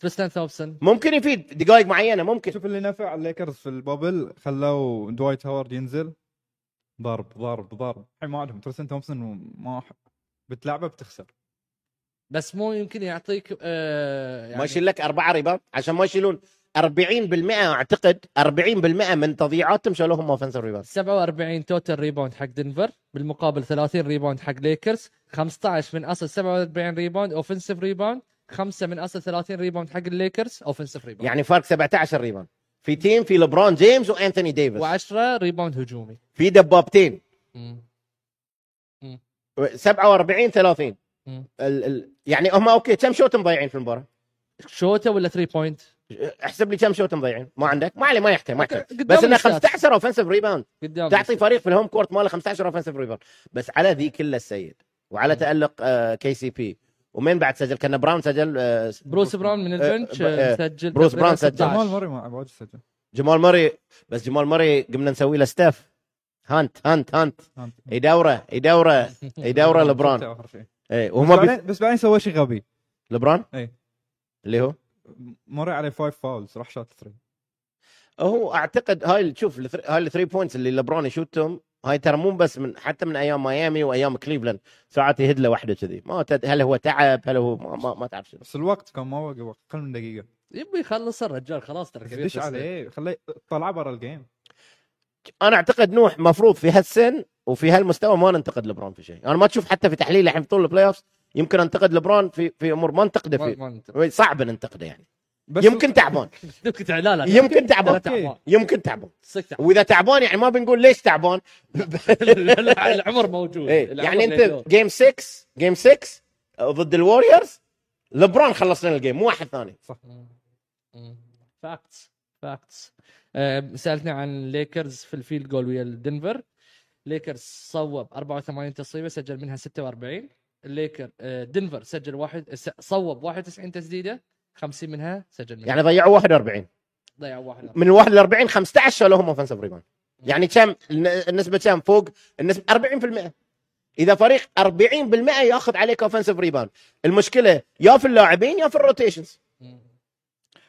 A: تريستان ثوبسون
B: ممكن يفيد دقائق معينه ممكن
C: شوف اللي نفع الليكرز في البابل خلوا دوايت هاورد ينزل ضرب ضرب ضرب الحين ما عندهم ترسن تومسون وما ح- بتلعبه بتخسر
A: بس مو يمكن يعطيك آه يعني
B: ما يشيل لك اربعه ريباوند عشان ما يشيلون 40% اعتقد 40% من تضييعاتهم شالوهم اوفنسيف ريباوند
A: 47 توتال ريباوند حق دنفر بالمقابل 30 ريباوند حق ليكرز 15 من اصل 47 ريباوند اوفنسيف ريباوند 5 من اصل 30 ريباوند حق الليكرز اوفنسيف ريباوند
B: يعني فرق 17 ريباوند في تيم في لبرون جيمس وانثوني ديفيس
A: و10 ريباوند هجومي
B: في دبابتين
A: مم.
B: 47 30
A: مم.
B: ال ال يعني هم اوكي كم شوت مضيعين في المباراه؟
A: شوته ولا 3 بوينت
B: احسب لي كم شوت مضيعين ما عندك ما عليه ما يحتاج ما
A: أوكي،
B: يحتاج
A: قدام
B: بس انه
A: الشات.
B: 15 اوفنسيف ريباوند
A: قدام
B: تعطي فريق في الهوم كورت ماله 15 اوفنسيف ريباوند بس على ذي كله السيد وعلى آه،
A: مم.
B: تالق كي سي بي ومين بعد سجل كان براون سجل آه،
A: بروس براون من البنش
B: آه، آه،
A: آه، سجل
B: بروس
A: تقريباً
B: براون سجل.
A: 16.
C: جمال مري ما واجد سجل
B: جمال مري بس جمال مري قمنا نسوي له ستاف هانت هانت هانت
C: هانت.
B: إيه، يدوره يدوره يدوره لبران إيه،
C: شفته آخر شيء.
B: اي
C: بس
B: وهم بي...
C: بعدين بس بعدين سوى شيء غبي
B: لبران
C: إيه.
B: اللي هو
C: مري عليه فايف فاولز راح شات ثري
B: هو اعتقد هاي ال- شوف الثر- هاي الثري بوينتس اللي لبرون يشوتهم هاي ترى مو بس من حتى من ايام ميامي وايام كليفلاند ساعات يهد له واحده كذي ما تد... هل هو تعب هل هو ما, ما, ما تعرف شنو
C: بس الوقت كان ما وقف اقل من دقيقه
A: يبي يخلص الرجال خلاص ترى
C: بس
A: كبير
C: دش
A: في السن.
C: عليه خليه طلع برا الجيم
B: انا اعتقد نوح مفروض في هالسن وفي هالمستوى ما ننتقد لبرون في شيء انا ما تشوف حتى في تحليل الحين في طول البلاي اوف يمكن انتقد لبرون في في امور ما انتقده
A: ما-
B: فيه
A: ما أنت-
B: صعب ننتقده يعني
C: بس
B: يمكن تعبان
A: يمكن تع- لا لا
B: يمكن
A: لا
B: تعبان
A: تعبان
B: يمكن تعبان
A: صدق تعبان.
B: واذا تعبان يعني ما بنقول ليش تعبان
A: لا، لا، العمر موجود
B: إيه،
A: العمر
B: يعني
A: له دور.
B: انت جيم 6 جيم 6 آه، ضد الوريورز لبرون خلص لنا الجيم مو واحد ثاني
A: فاكتس فاكتس سالتني Um, عن ليكرز في الفيلد جول ويا دنفر ليكرز صوب 84 تصويبه سجل منها 46 الليكر آه، دنفر سجل واحد س- صوب 91 تسديده 50 منها سجل منها
B: يعني ضيعوا 41
A: ضيع واحد
B: من ال 41 15 شالوهم اوفنسيف ريبان يعني كم النسبه كم فوق النسبه 40% اذا فريق 40% ياخذ عليك اوفنسيف ريبان المشكله يا في اللاعبين يا في الروتيشنز
A: مم.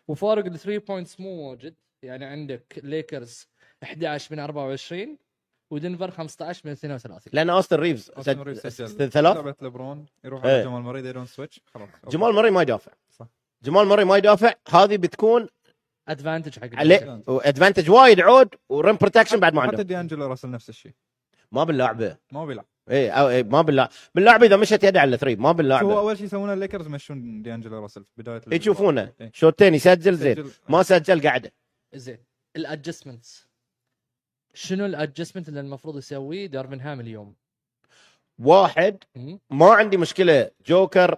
A: وفارق ال 3 بوينتس مو واجد يعني عندك ليكرز 11 من 24 ودنفر 15 من 32
B: لان اوستن ريفز
C: أوستن ريفز سجل.
B: سج- ثلاث
C: لعبه لبرون يروح
B: إيه.
C: على جمال مريض يدون سويتش خلاص
B: جمال موري ما يدافع
C: صح.
B: جمال موري ما يدافع هذه بتكون
A: ادفانتج حق الليكرز.
B: عليه ادفانتج وايد عود وريم بروتكشن بعد ما
C: حتى
B: عنده
C: دي انجلو راسل نفس الشيء
B: ما باللعبه
C: ما هو بيلعب
B: اي أو إيه ما باللعب باللعب اذا مشت يده على ثري ما
C: شو هو
B: باللعب
C: اول شيء يسوونه الليكرز يمشون دي انجلو راسل في بدايه ال-
B: يشوفونه
C: إيه.
B: شوتين يسجل زين
C: سجل-
B: ما سجل قاعده
A: زين الادجستمنتس شنو الادجستمنت اللي المفروض يسويه دارفن هام اليوم؟
B: واحد
A: مم؟
B: ما عندي مشكله جوكر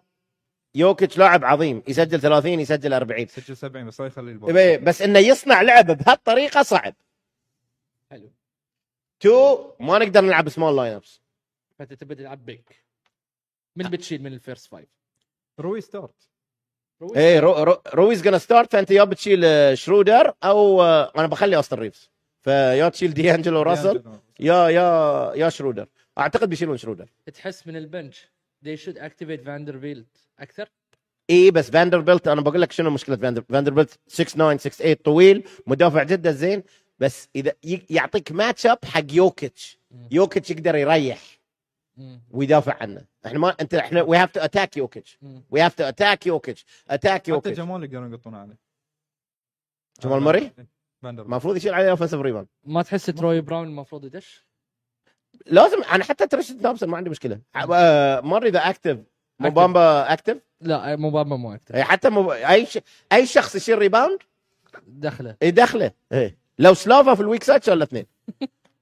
B: يوكيتش لاعب عظيم يسجل 30 يسجل 40
C: سجل 70 بس لا يخلي الباص
B: إيه، بس انه يصنع لعبه بهالطريقه صعب
A: حلو
B: تو ما نقدر نلعب سمول لاين ابس
A: فانت تبي تلعب بيك من بتشيل من الفيرست فايف؟
C: روي ستارت
B: اي إيه، رو رو رويز جنا ستارت فانت يا بتشيل آه، شرودر او آه، انا بخلي اوستن ريفز فيا تشيل دي انجلو راسل
C: ديانجلو راسل.
B: يا يا يا شرودر اعتقد بيشيلون شرودر
A: تحس من البنش they should activate فاندرفيلد اكثر
B: اي إيه، بس فاندربلت انا بقول لك شنو مشكله فاندر فاندربلت 6 9 6 8 طويل مدافع جدا زين بس اذا ي- يعطيك ماتش اب حق يوكيتش
A: مم.
B: يوكيتش يقدر يريح
A: مم.
B: ويدافع عنه احنا ما انت احنا وي هاف تو اتاك يوكيتش
A: مم.
B: وي هاف تو اتاك يوكيتش اتاك
C: حتى
B: يوكيتش
C: جمال يقدرون يقطون عليه آه، إيه.
B: جمال مري؟
C: فاندربلت
B: المفروض يشيل عليه اوفنسيف ريبان
A: ما تحس تروي براون المفروض يدش؟
B: لازم انا حتى تريشن تومسون ما عندي مشكله آه، ماري اذا اكتف موبامبا اكتف
A: لا موبابا مو اكثر
B: حتى مو... اي ش... اي شخص يشيل ريباوند
A: دخله
B: يدخله إيه. لو سلافا في الويك سايد شال اثنين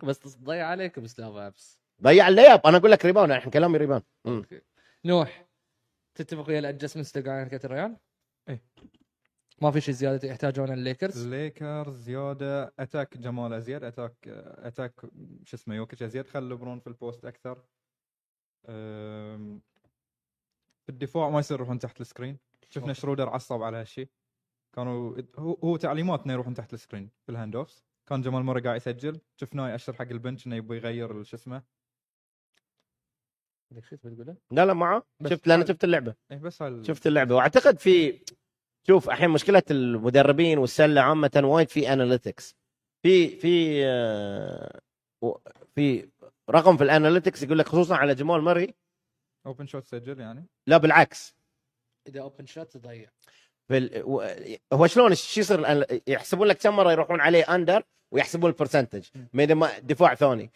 A: بس تضيع عليك بسلافا ابس
B: ضيع اللياب انا اقول لك ريباوند الحين كلامي ريباوند مم.
A: نوح تتفق ويا الادجستمنتس اللي قاعدين كانت الريال؟
C: إيه.
A: ما في شيء زياده يحتاجونه الليكرز؟
C: الليكرز زياده اتاك جمال ازيد اتاك اتاك شو اسمه يوكيتش ازيد خلي لبرون في البوست اكثر أم، في الدفاع ما يصير يروحون تحت السكرين شفنا
A: أوكي.
C: شرودر عصب على هالشيء كانوا هو, هو تعليمات انه يروحون تحت السكرين في الهاند اوفز كان جمال موري قاعد يسجل شفناه ياشر حق البنش انه يبغى يغير شو اسمه
A: عندك شيء تبي تقوله؟
B: لا لا معه
C: بس
B: شفت لان
C: حلو.
B: شفت اللعبه
C: اي إيه، بس هال
B: شفت اللعبه واعتقد في شوف الحين مشكله المدربين والسله عامه وايد في اناليتكس في في آه، و- في رقم في الاناليتكس يقول لك خصوصا على جمال مري
C: اوبن شوت سجل يعني
B: لا بالعكس
A: اذا اوبن شوت تضيع
B: في ال... و- هو شلون شو يصير الأن- يحسبون لك كم مره يروحون عليه اندر ويحسبون البرسنتج ما إذا ما دفاع ثاني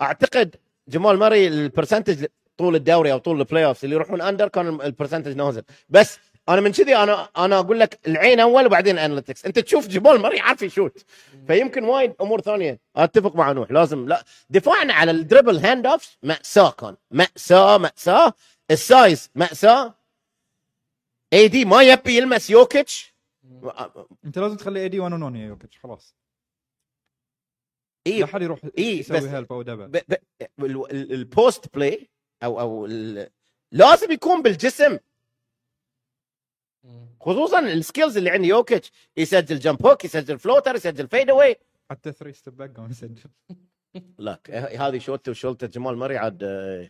B: اعتقد جمال ماري البرسنتج طول الدوري او طول البلاي اوفز اللي يروحون اندر كان البرسنتج نازل بس انا من كذي انا انا اقول لك العين اول وبعدين اناليتكس انت تشوف جمال ماري عارف يشوت فيمكن وايد امور ثانيه اتفق مع نوح لازم لا دفاعنا على الدربل هاند اوف ماساه كان ماساه ماساه السايز ماساه اي دي ما يبي يلمس يوكيتش
C: انت لازم تخلي ايدي 1 1 يا يوكيتش خلاص لا
B: اي
C: حد يروح
B: إيه،
C: يسوي
B: بس-
C: هيلب او دبل
B: ب- ب- ال- ال- البوست بلاي او او ال- لازم يكون بالجسم
A: مم.
B: خصوصا السكيلز اللي عند يوكيتش يسجل جمب هوك يسجل فلوتر يسجل فيد اواي
C: حتى 3 ستيب باك قام يسجل
B: لا ه- هذه شوته وشولته جمال مري عاد آه،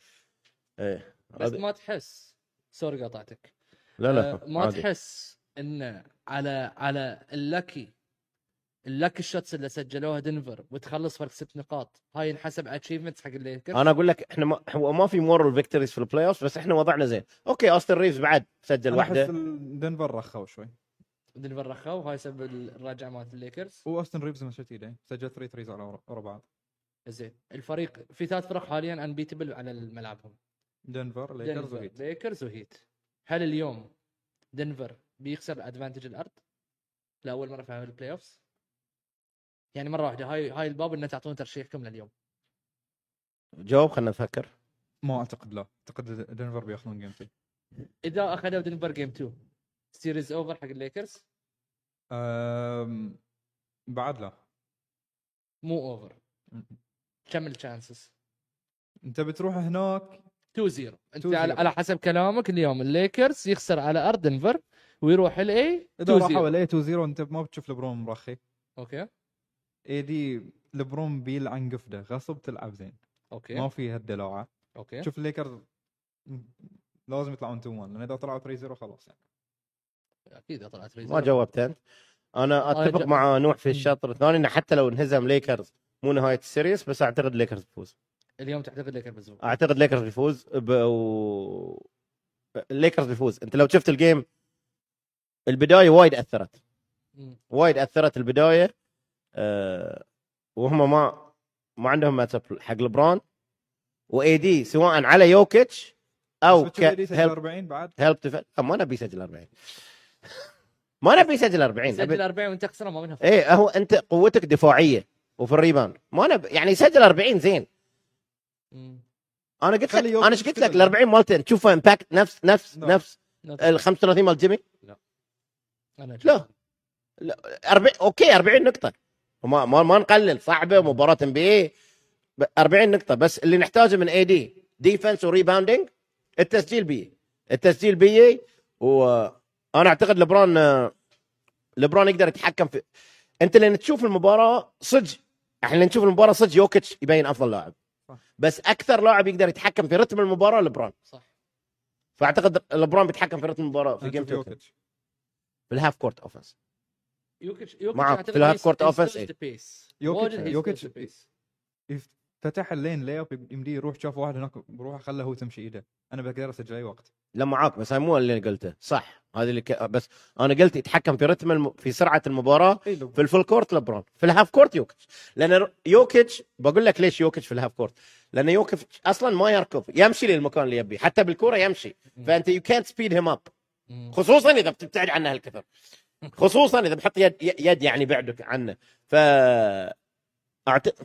B: إيه.
A: بس
B: هذه-
A: ما تحس سوري قطعتك
B: لا
A: آه، ما
B: عادي.
A: تحس انه على على اللكي اللاك الشوتس اللي سجلوها دنفر وتخلص فرق ست نقاط هاي ينحسب اتشيفمنتس حق الليكرز
B: انا اقول لك احنا ما هو ما في مورال فيكتوريز في البلاي اوف بس احنا وضعنا زين اوكي استن ريفز بعد سجل
C: أنا احس
B: واحده
C: ال- دنفر رخوا شوي
A: دنفر رخوا وهاي سبب الرجعه مالت الليكرز
C: واوستن ريفز مشت ايده سجل 3 3 على ورا- ورا بعض
A: زين الفريق في ثلاث فرق حاليا انبيتبل على ملعبهم
C: دنفر ليكرز
A: دنفر
C: وهيت
A: ليكرز وهيت هل اليوم دنفر بيخسر ادفانتج الارض لاول مره في البلاي اوفز يعني مره واحده هاي هاي الباب ان تعطون ترشيحكم لليوم
B: جاوب خلينا نفكر
C: ما اعتقد لا اعتقد دنفر بياخذون جيم 2
A: اذا اخذوا دنفر جيم 2 سيريز اوفر حق الليكرز
C: أم... بعد لا
A: مو اوفر كم الشانسز
C: انت بتروح هناك
A: 2 0 انت
C: 2-0.
A: على على حسب كلامك اليوم الليكرز يخسر على ارض دنفر ويروح الاي
C: اذا
A: 2
C: راحوا
A: 0
C: ولا 2 0 انت ما بتشوف لبرون مرخي
A: اوكي
C: اي دي لبرون بيل عن قفده غصب تلعب زين ما
A: اوكي
C: في هالدلوعه
A: اوكي
C: شوف الليكرز لازم يطلعون 2 1 لان اذا طلعوا 3 0 خلاص يعني
A: اكيد إذا طلعت
B: ما جاوبت انت انا اتفق
A: إيه، جا-
B: مع نوح في الشطر الثاني انه حتى لو انهزم ليكرز مو نهايه السيريس بس اعتقد ليكرز بيفوز
A: اليوم تعتقد الليكرز بيفوز
B: اعتقد ليكرز بيفوز ب... و... ليكرز بيفوز انت لو شفت الجيم البدايه وايد اثرت
A: مم.
B: وايد اثرت البدايه أه... وهم ما ما عندهم ماتش أب حق لبران واي دي سواء على يوكيتش او
C: بس بتشوف AD سجل
B: كهيلب
C: 40 بعد
B: هيلب تف... آه، ما نبي يسجل 40 ما نبي يسجل 40 أبي-
A: سجل 40 وانت خسران ما منها فرق.
B: ايه هو انت قوتك دفاعيه وفي الريبان ما انا ب... يعني سجل 40 زين
A: مم.
B: انا قلت لك
C: خلي
B: انا
C: يوكيتش نعم.
B: ايش قلت لك
C: كذا.
B: ال 40 مالته تشوفه امباكت نفس نفس
C: لا.
B: نفس ال 35 مال جيمي
A: أنا
B: لا. 40 اوكي 40 نقطه وما ما, ما نقلل صعبه مباراه ام بي اي 40 نقطه بس اللي نحتاجه من اي دي ديفنس وريباوندينج التسجيل بي التسجيل بي وانا اعتقد لبران آه، لبران يقدر يتحكم في انت لان تشوف المباراه صدق احنا لان نشوف المباراه صدق يوكيتش يبين افضل لاعب
C: صح.
B: بس اكثر لاعب يقدر يتحكم في رتم المباراه لبران
A: صح
B: فاعتقد لبران بيتحكم في رتم المباراه في
C: أنا
B: جيم
C: أشوف
B: 2
C: يوكيتش.
B: في الهاف كورت اوفنس
A: يوكيتش يوكيتش
B: معك.
A: أعتقد
B: في الهاف
A: he's-
B: court
A: he's
B: offense
A: touched
B: إيه.
A: the pace.
C: يوكيتش-
A: واجد he's touched
C: يوكيتش-
A: the pace.
C: يف- فتح اللين لي اب يمديه يروح شاف واحد هناك بروحه خله هو تمشي ايده انا بقدر اسجل اي وقت
B: لا معاك بس هاي مو اللي أنا قلته صح هذا اللي ك... بس انا قلت يتحكم في رتم الم... في سرعه المباراه
C: اي
B: في الفول كورت لبرون في الهاف كورت يوكيتش لان ر- يوكيتش بقول لك ليش يوكيتش في الهاف كورت لان يوكيتش اصلا ما يركض يمشي للمكان اللي يبيه حتى بالكوره يمشي فانت يو كانت سبيد هيم اب
A: مم.
B: خصوصا اذا بتبتعد عنه هالكثر خصوصا اذا بحط يد يد يعني بعدك عنه ف أعت...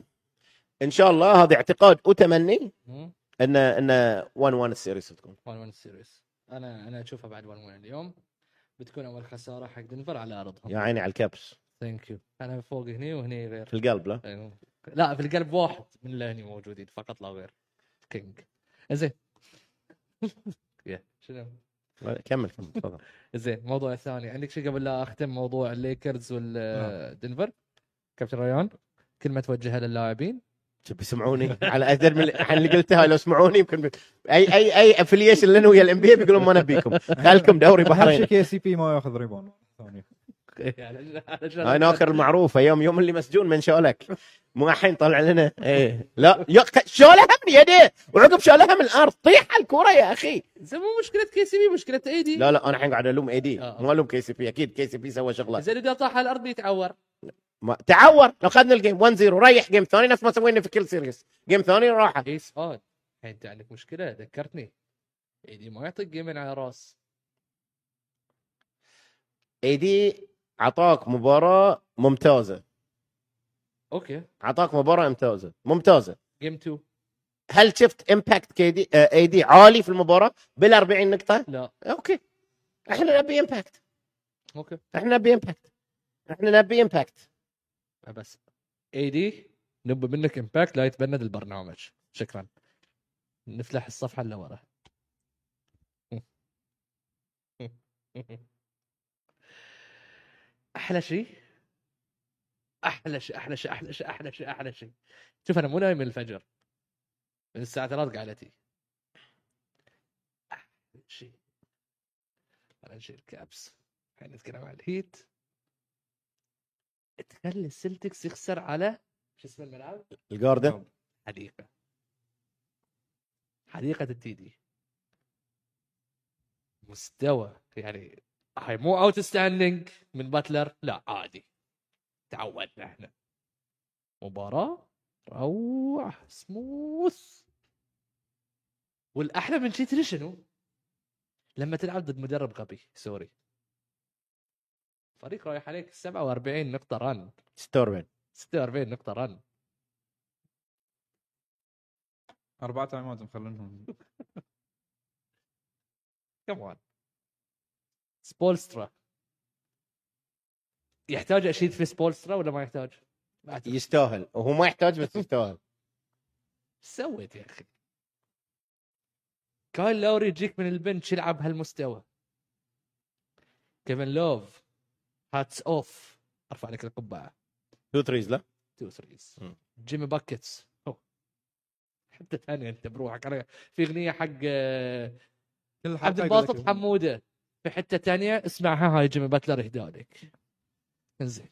B: ان شاء الله هذا اعتقاد وتمني
A: مم.
B: ان ان 1 1 السيريس تكون
A: 1 1 سيريس انا انا اشوفها بعد 1 1 اليوم بتكون اول خساره حق دنفر على ارضهم
B: يا عيني على الكبس
A: ثانك يو انا فوق هني وهني غير
B: في القلب لا
A: أيوه. لا في القلب واحد من اللي هني موجودين فقط لا غير كينج زين يا، شنو
B: كمل كمل تفضل
A: زين موضوع الثاني عندك شيء قبل لا اختم موضوع الليكرز
B: نعم.
C: لا.
A: والدنفر كابتن ريان كلمه توجهها للاعبين
B: شو بيسمعوني على اكثر من اللي- عن اللي قلتها لو سمعوني يمكن بي... اي اي اي افليشن لنا ويا الام بي بيقولون ما نبيكم خلكم دوري
C: اهم
B: بحرين
C: شيء سي بي ما ياخذ ريبون ثانية.
A: يعني علشان-
B: انا اخر المعروفه يوم يوم اللي مسجون من شولك مو الحين طلع لنا ايه لا يا ك- شوله هم يديه وعقب شوله هم الارض طيح على الكره يا اخي
A: زين مو مشكله كي سي بي مشكله ايدي
B: لا لا انا الحين قاعد الوم اي دي
A: آه.
B: ما الوم كي سي بي اكيد كي سي بي سوى شغله
A: زين اذا طاح على الارض بيتعور
B: ما... تعور لو اخذنا الجيم 1 0 ريح جيم ثاني نفس ما سوينا في كل سيريس جيم ثاني راحه
A: ايس اون الحين انت عندك مشكله ذكرتني ايدي ما يعطيك جيمين على راس
B: اي دي عطاك مباراه ممتازه
A: اوكي
B: عطاك مباراه ممتازه ممتازه
A: جيم 2
B: هل شفت امباكت كي دي اي دي آه، عالي في المباراه بال 40 نقطه
A: لا
B: اوكي احنا نبي امباكت
A: اوكي
B: احنا نبي امباكت احنا نبي امباكت
A: بس اي دي نبي منك امباكت لا يتبند البرنامج شكرا نفلح الصفحه اللي ورا احلى شيء احلى شيء احلى شيء احلى شيء احلى شيء احلى شيء شوف انا مو نايم من الفجر من الساعه 3 قعدتي احلى شيء انا نشيل كابس الحين نتكلم عن الهيت تخلي السلتكس يخسر على شو اسم الملعب؟
B: الجاردن
A: حديقه حديقه التي دي مستوى يعني هاي مو اوت ستاندينج من باتلر لا عادي تعودنا احنا مباراه روعه سموث والاحلى من شي تدري شنو؟ لما تلعب ضد مدرب غبي سوري فريق رايح عليك 47 نقطه رن
B: ستورمن
A: 46 نقطه رن
C: اربع تايمات مخلينهم
A: كمان سبولسترا يحتاج اشيد في سبولسترا ولا ما يحتاج؟ ما أعتقد.
B: يستاهل وهو ما يحتاج بس يستاهل
A: ايش سويت يا اخي؟ كايل لوري يجيك من البنش يلعب هالمستوى كيفن لوف هاتس اوف ارفع لك القبعه
B: تو ثريز لا
A: تو ثريز
B: مم.
A: جيمي باكيتس أوه. حتى ثانيه انت بروحك أنا في اغنيه حق آه،
C: كل حلقة
A: عبد
C: أقول
A: الباسط
C: لك-
A: حموده في حته ثانيه اسمعها هاي جيمي باتلر اهدى لك انزين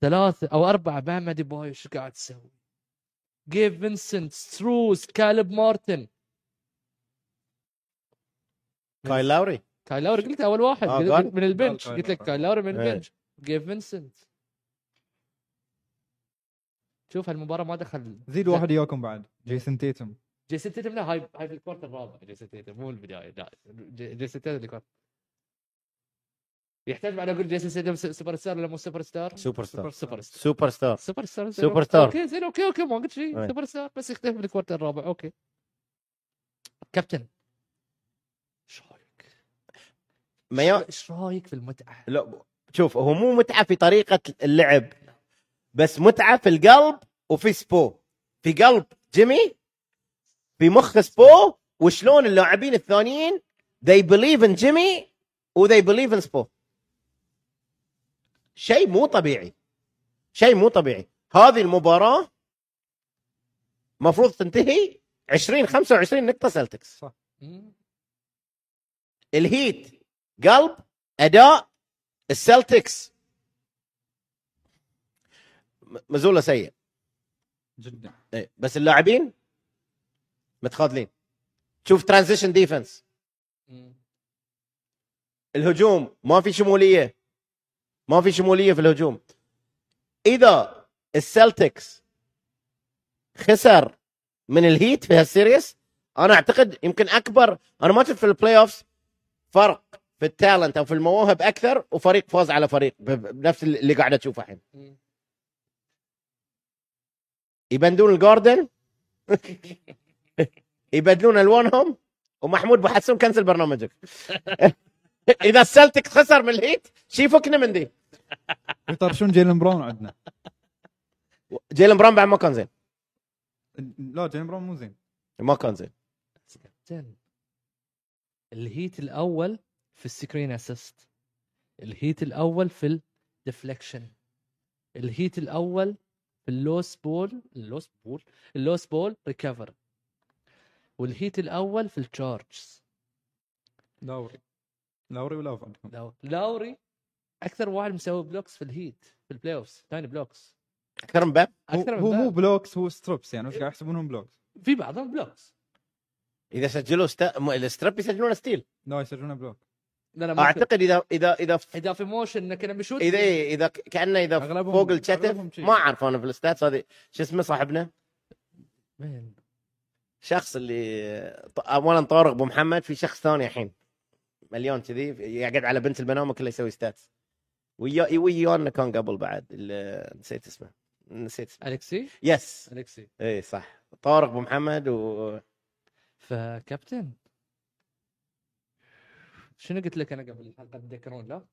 A: ثلاثة أو أربعة بام ديباي شو قاعد تسوي؟ جيف فينسنت ستروس كالب مارتن
B: كايل لاوري
A: كايل لاوري قلت أول واحد
B: آه،
A: قلت-
B: قال-
A: قلت من البنش
C: قال
A: قلت
C: كايل
A: لك
C: لاوري.
A: كايل لاوري من
B: إيه.
A: البنش جيف فينسنت شوف هالمباراة ما دخل
C: زيد واحد ياكم بعد جيسون تيتم
A: جيسون تيتم لا هاي هاي في الكوارتر الرابع جيسون تيتم مو البدايه لا جي- جيسون تيتم الكوارتر يحتاج بعد اقول جيسون تيتم س- سوبر ستار ولا مو سوبر ستار؟
B: سوبر ستار
A: سوبر ستار
B: سوبر ستار
A: سوبر ستار زين،
B: سوبر
A: أوكي.
B: ستار.
A: اوكي زين اوكي اوكي ما قلت
B: أي.
A: شيء سوبر ستار بس يختلف من الكوارتر الرابع اوكي كابتن ايش رايك؟
B: ما يا-
A: ايش رايك في المتعه؟
B: لا شوف هو مو متعه في طريقه اللعب بس متعه في القلب وفي سبو في قلب جيمي في مخ سبو وشلون اللاعبين الثانيين they believe in جيمي و they believe in سبو شيء مو طبيعي شيء مو طبيعي هذه المباراه مفروض تنتهي 20 25 نقطه سلتكس
A: مم.
B: الهيت قلب اداء السلتكس م- مزوله سيء
C: جدا
B: إيه، بس اللاعبين متخاذلين شوف ترانزيشن ديفنس
A: مم.
B: الهجوم ما في شموليه ما في شموليه في الهجوم اذا السلتكس خسر من الهيت في هالسيريس انا اعتقد يمكن اكبر انا ما شفت في البلاي اوفز فرق في التالنت او في المواهب اكثر وفريق فاز على فريق ب- ب- بنفس اللي قاعد اشوفه الحين
A: مم.
B: يبندون الجاردن يبدلون الوانهم ومحمود بحسون كنسل برنامجك اذا السلتك خسر من الهيت شي فكنا من دي
C: يطرشون جيلن براون عندنا
B: جيلن براون بعد ما كان زين
C: لا جيلن براون مو زين
B: ما كان زين
A: بس كابتن الهيت الاول في السكرين اسيست الهيت الاول في الديفليكشن الهيت الاول في اللوس بول اللوس بول اللوس بول ريكفر والهيت الاول في التشارجز
C: لاوري لاوري ولاوف عندكم
A: لو- لاوري اكثر واحد مسوي بلوكس في الهيت في البلاي اوفز ثاني بلوكس
B: اكثر من باب
C: هو,
A: اكثر من
C: هو مو
A: بعض.
C: بلوكس هو ستروبس يعني بس قاعد يحسبونهم بلوكس
A: في بعضهم بلوكس
B: اذا سجلوا ستا... م- الستريب يسجلون ستيل
C: لا يسجلونه بلوك
A: لا لا ما في.
B: اعتقد اذا اذا اذا
A: اذا في موشن انه كنا بشوت
B: اذا إيه، اذا ك- كانه اذا
C: أغلبهم-
B: فوق الكتف
C: أغلبهم شي.
B: ما اعرف انا في الستاتس هذه شو اسمه صاحبنا
A: مين؟
B: شخص اللي ط- اولا طارق ابو محمد في شخص ثاني الحين مليون كذي يقعد على بنت البنام وكله يسوي ستاتس ويا ويانا كان قبل بعد ال- نسيت اسمه نسيت اسمه
A: الكسي
B: يس
A: الكسي
B: اي صح طارق ابو محمد و
A: فكابتن شنو قلت لك انا قبل الحلقه تذكرون لا؟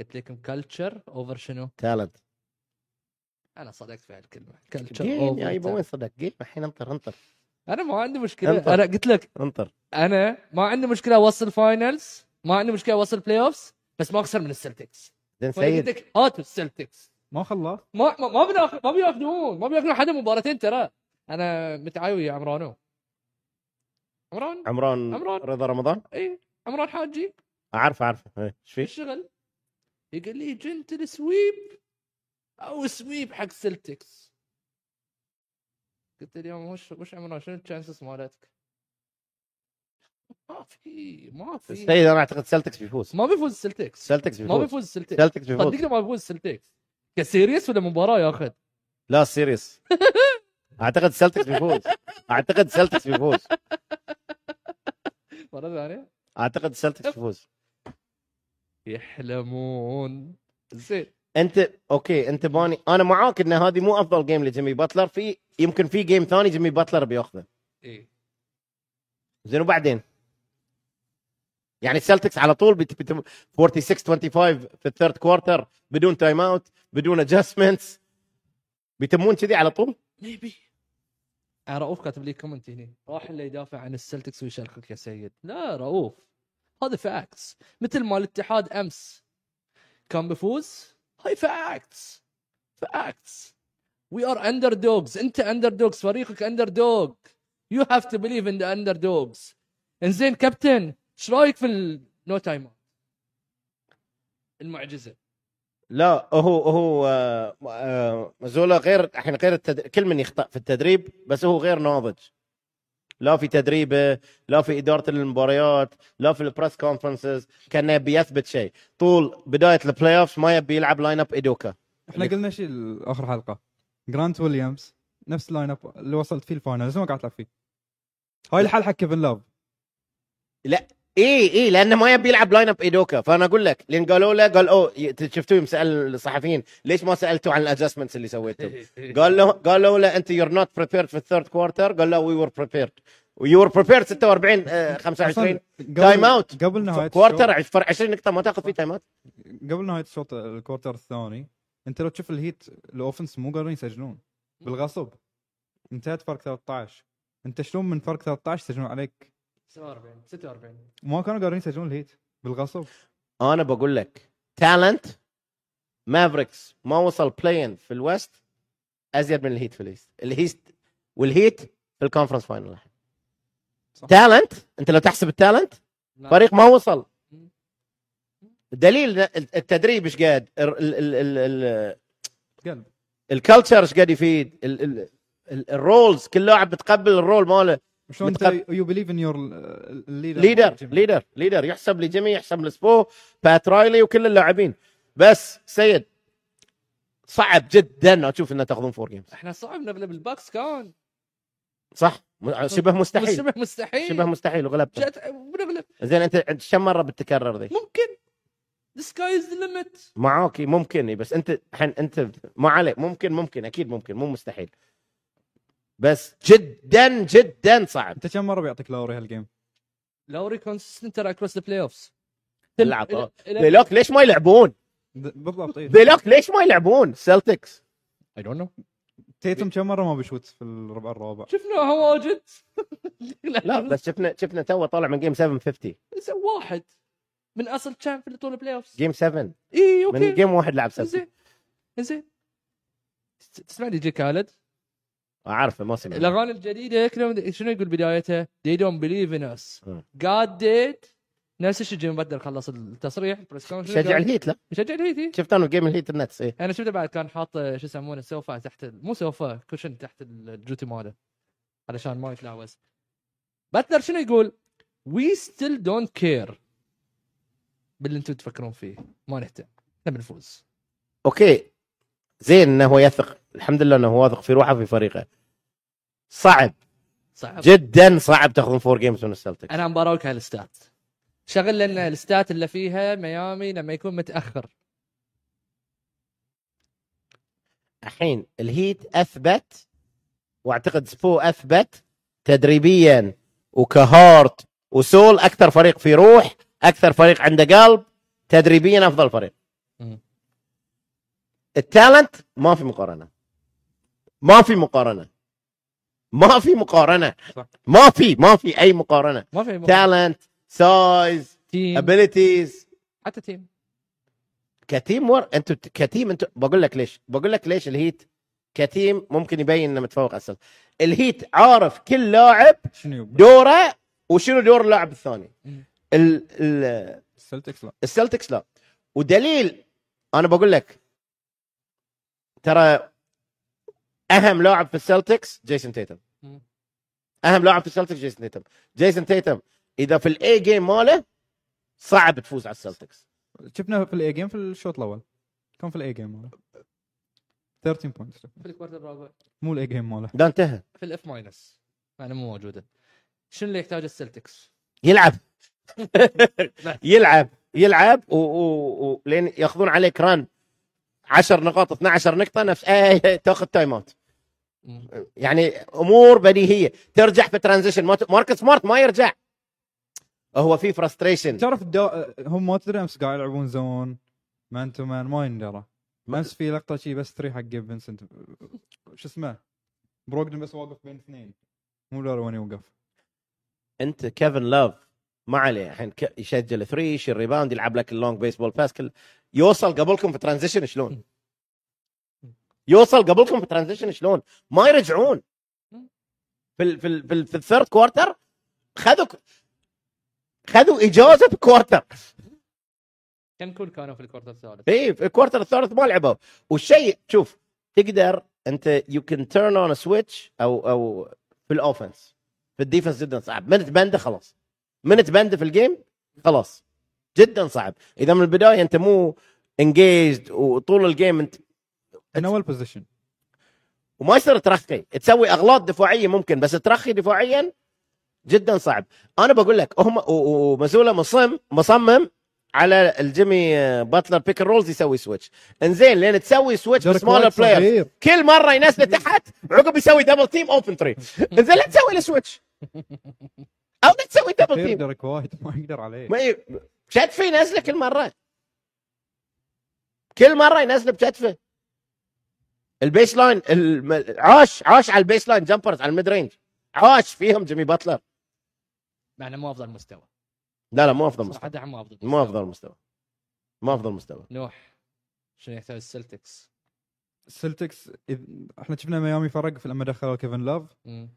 A: قلت لكم كلتشر اوفر شنو؟
B: تالنت
A: انا صدقت في هالكلمه كلتشر
B: جيم يا يبا وين
A: اوفر
B: صدق جيم الحين انطر انطر
A: انا ما عندي مشكله
B: انطر.
A: انا قلت لك
B: انطر
A: انا ما عندي مشكله اوصل فاينلز ما عندي مشكله اوصل بلاي اوفز بس ما اخسر من السلتكس
B: زين سيد
A: سيدك هاتوا السلتكس
C: ما خلاه
A: ما ما ما بناخ- ما بياخذون ما بياخذون حدا مباراتين ترى انا متعاوي يا عمرانو عمران
B: عمران
A: عمران.
B: رضا رمضان
A: اي عمران حاجي
B: اعرف اعرف إيه، ايش
A: في
B: فيه
A: الشغل يقول لي جنت السويب او سويب حق سلتكس قلت اليوم وش وش عمرنا شنو التشانسز مالتك؟ ما في ما في
B: السيد انا اعتقد سلتكس بيفوز
A: ما بيفوز سلتكس
B: سلتكس
A: ما
B: بيفوز
A: بيفوز سلتكس
B: سلتكس بيفوز
A: صدقني ما بيفوز سلتكس كسيريس ولا مباراه ياخذ
B: لا سيريس اعتقد سلتكس بيفوز اعتقد سلتكس بيفوز
A: مره ثانيه
B: اعتقد سلتكس بيفوز
A: يحلمون زين
B: انت اوكي انت باني انا معاك ان هذه مو افضل جيم لجيمي باتلر في يمكن في جيم ثاني جيمي باتلر بياخذه
A: ايه
B: زين وبعدين يعني السلتكس على طول بت... بت... 46 25 في الثيرد كوارتر بدون تايم اوت بدون ادجستمنتس بيتمون كذي على طول
A: ميبي آه، رؤوف كاتب لي كومنت هنا راح اللي يدافع عن السلتكس ويشلخك يا سيد لا رؤوف هذا فاكتس مثل ما الاتحاد امس كان بفوز هاي فاكتس فاكتس وي ار اندر دوجز انت اندر دوجز فريقك اندر دوج يو هاف تو بليف ان ذا اندر دوجز انزين كابتن ايش رايك في النو تايم المعجزه
B: لا هو هو آه، آه، مزولا غير الحين غير التد... كل من يخطا في التدريب بس هو غير ناضج لا في تدريبه لا في اداره المباريات لا في البريس كونفرنسز كان يبي يثبت شيء طول بدايه البلاي اوف ما يبي يلعب لاين اب ايدوكا
C: احنا قلنا شيء اخر حلقه جرانت ويليامز نفس اللاين اب اللي وصلت فيه الفاينل لسه ما قاعد تلعب فيه هاي الحل حق كيفن لاف
B: اي اي لانه ما يبي يلعب لاين اب ايدوكا فانا اقول لك لان قالوا له قال اوه ي- شفتوه مسال الصحفيين ليش ما سالتوا عن الادجستمنتس اللي سويتهم قال له قالوا له انت يور نوت بريبيرد في الثيرد كوارتر قال له وي ور بريبيرد وي ور بريبيرد 46 آه، 25 تايم اوت.
C: قبل نهايه
B: كوارتر
C: الشوط-
B: عش- فرق 20 نقطه ما تاخذ فيه تايم اوت
C: قبل نهايه الشوط الكوارتر الثاني انت لو تشوف الهيت الاوفنس مو قادرين يسجلون بالغصب انتهت فرق 13 انت شلون من فرق 13 سجلون عليك
A: 47 46
C: ما كانوا قادرين يسجلون الهيت بالغصب
B: انا بقول لك تالنت مافريكس ما وصل بلاين في الويست ازيد من الهيت في الايست الهيت والهيت في الكونفرنس فاينل الحين
C: صح.
B: تالنت انت لو تحسب التالنت فريق ما وصل دليل التدريب ايش قد ال- ال- ال- ال-
C: قلب
B: الكلتشر ايش قاعد يفيد ال- ال- ال- الرولز كل لاعب بتقبل الرول ماله
C: شلون انت
B: متقب-
C: يو بليف ان يور ليدر
B: ليدر ليدر ليدر يحسب لجيمي يحسب لسبو بات رايلي وكل اللاعبين بس سيد صعب جدا اشوف انه تاخذون فور جيمز
A: احنا صعب نغلب الباكس كان
B: صح م- شبه مستحيل
A: شبه مستحيل
B: شبه مستحيل وغلبته
A: جت بنغلب
B: زين انت أنت كم مره بتكرر ذي
A: ممكن the sky is the limit
B: معاك ممكن بس انت الحين انت ما عليك ممكن ممكن اكيد ممكن مو مستحيل بس جدا جدا صعب
C: انت كم مره بيعطيك لاوري هالجيم؟
A: لوري كونسستنت across the playoffs
B: يلعب. ليلوك ليش ما يلعبون؟
C: د- بالضبط إيه. اي
B: ذيلوك ليش ما يلعبون؟ سلتكس
A: I don't know
C: تيتم كم مره ما بيشوت في الربع الرابع
A: شفناها واجد أه.
B: لا بس شفنا شفنا تو طالع من جيم 750
A: بس واحد من اصل كان في طول البلاي اوفز
B: جيم 7
A: اي اوكي
B: من جيم واحد لعب 7
A: زين زين تس- تسمعني جي خالد
B: عارفه ما سمعت
A: الاغاني الجديده كلهم شنو يقول بدايتها؟ They don't believe in us.
B: مم.
A: God did نفس الشيء جيم بدر خلص التصريح البريس كونفرنس
B: شجع الهيت لا
A: يشجع الهيتي
B: شفت انا جيم الهيت النتس ايه
A: انا شفته بعد كان حاط آه، شو يسمونه سوفا تحت ال- مو سوفا كوشن تحت الجوتي ماله علشان ما يتلاوز باتلر شنو يقول؟ وي ستيل دونت كير باللي انتم تفكرون فيه ما نهتم احنا بنفوز
B: اوكي زين انه هو يثق الحمد لله انه هو واثق في روحه في فريقه صعب
A: صعب
B: جدا صعب تاخذون فور جيمز من السلتكس
A: انا مباراوك على الستات شغل لان الستات اللي فيها ميامي لما يكون متاخر
B: الحين الهيت اثبت واعتقد سبو اثبت تدريبيا وكهارت وسول اكثر فريق في روح اكثر فريق عنده قلب تدريبيا افضل فريق
A: مم.
B: التالنت ما في مقارنه ما في مقارنه ما في مقارنه
C: صح.
B: ما في ما في اي مقارنه
A: ما في مو-
B: تالنت سايز
A: تيم
B: ابيليتيز
A: حتى تيم
B: كتيم ور انتوا كتيم انتوا بقول لك ليش بقول لك ليش الهيت كتيم ممكن يبين انه متفوق على السلتكس الهيت عارف كل لاعب
C: شنو يب-
B: دوره وشنو دور اللاعب الثاني
A: مم.
B: ال- ال-
C: السلتكس لا
B: السلتكس لا ودليل انا بقول لك ترى اهم لاعب في السلتكس جيسون تيتم
A: مم.
B: اهم لاعب في السلتكس جيسون تيتم جيسون تيتم اذا في الاي جيم ماله صعب تفوز على السلتكس
C: شفنا في الاي جيم في الشوط الاول كان في الاي جيم ماله 13 بوينتس
A: في الكوارتر الرابع
C: مو الاي جيم ماله
B: ده انتهى
A: في الاف ماينس يعني مو موجوده شنو اللي يحتاج السلتكس؟
B: يلعب يلعب يلعب و... و... و... لين ياخذون عليك ران 10 نقاط 12 نقطه نفس آه تاخذ تايم اوت
A: مم.
B: يعني امور بديهيه ترجع في ترانزيشن ما ت- ماركس سمارت ما يرجع هو في فرستريشن
C: تعرف الدو... هم ما تدري امس قاعد يلعبون زون مان تو مان ما يندرى امس في لقطه شي بس تري حق فينسنت شو اسمه بروجدن بس واقف بين اثنين مو لولو وين يوقف
B: انت كيفن لوف ما عليه الحين ك- يسجل ثري يشيل ريباوند يلعب لك اللونج بيسبول باس كل يوصل قبلكم في ترانزيشن شلون؟ يوصل قبلكم في ترانزيشن شلون؟ ما يرجعون في ال في ال في, ال في الثيرد كوارتر خذوا ك- خذوا اجازه في كوارتر
A: كان كل كانوا في الكوارتر الثالث
B: اي في الكوارتر الثالث ما لعبوا والشيء شوف تقدر انت يو كان تيرن اون سويتش او او في الاوفنس في الديفنس جدا صعب من تبنده خلاص من تبنده في الجيم خلاص جدا صعب اذا من البدايه انت مو انجيجد وطول الجيم انت
C: من اول بوزيشن
B: وما يصير ترخي تسوي اغلاط دفاعيه ممكن بس ترخي دفاعيا جدا صعب انا بقول لك هم و- و- ومزوله مصم مصمم على الجيمي آه، باتلر بيك رولز يسوي سويتش انزين لين تسوي سويتش بسمولر بلاير كل مره ينزله تحت عقب يسوي دبل تيم اوبن تري انزين لا تسوي له سويتش او لا تسوي دبل تيم
C: ديريك وايد ما يقدر عليه
B: ما ي... شتفه ينزله كل مره كل مره ينزله بشتفه البيس لاين الم... عاش عاش على البيس لاين جمبرز على الميد رينج عاش فيهم جيمي باتلر
A: مع انه مو افضل مستوى
B: لا لا مو افضل مستوى
A: صراحه مو افضل
B: مو افضل مستوى مو افضل مستوى
A: نوح شنو يحتاج السلتكس؟
C: السلتكس إذ- احنا شفنا ميامي فرق في لما دخلوا كيفن لوف
A: مم.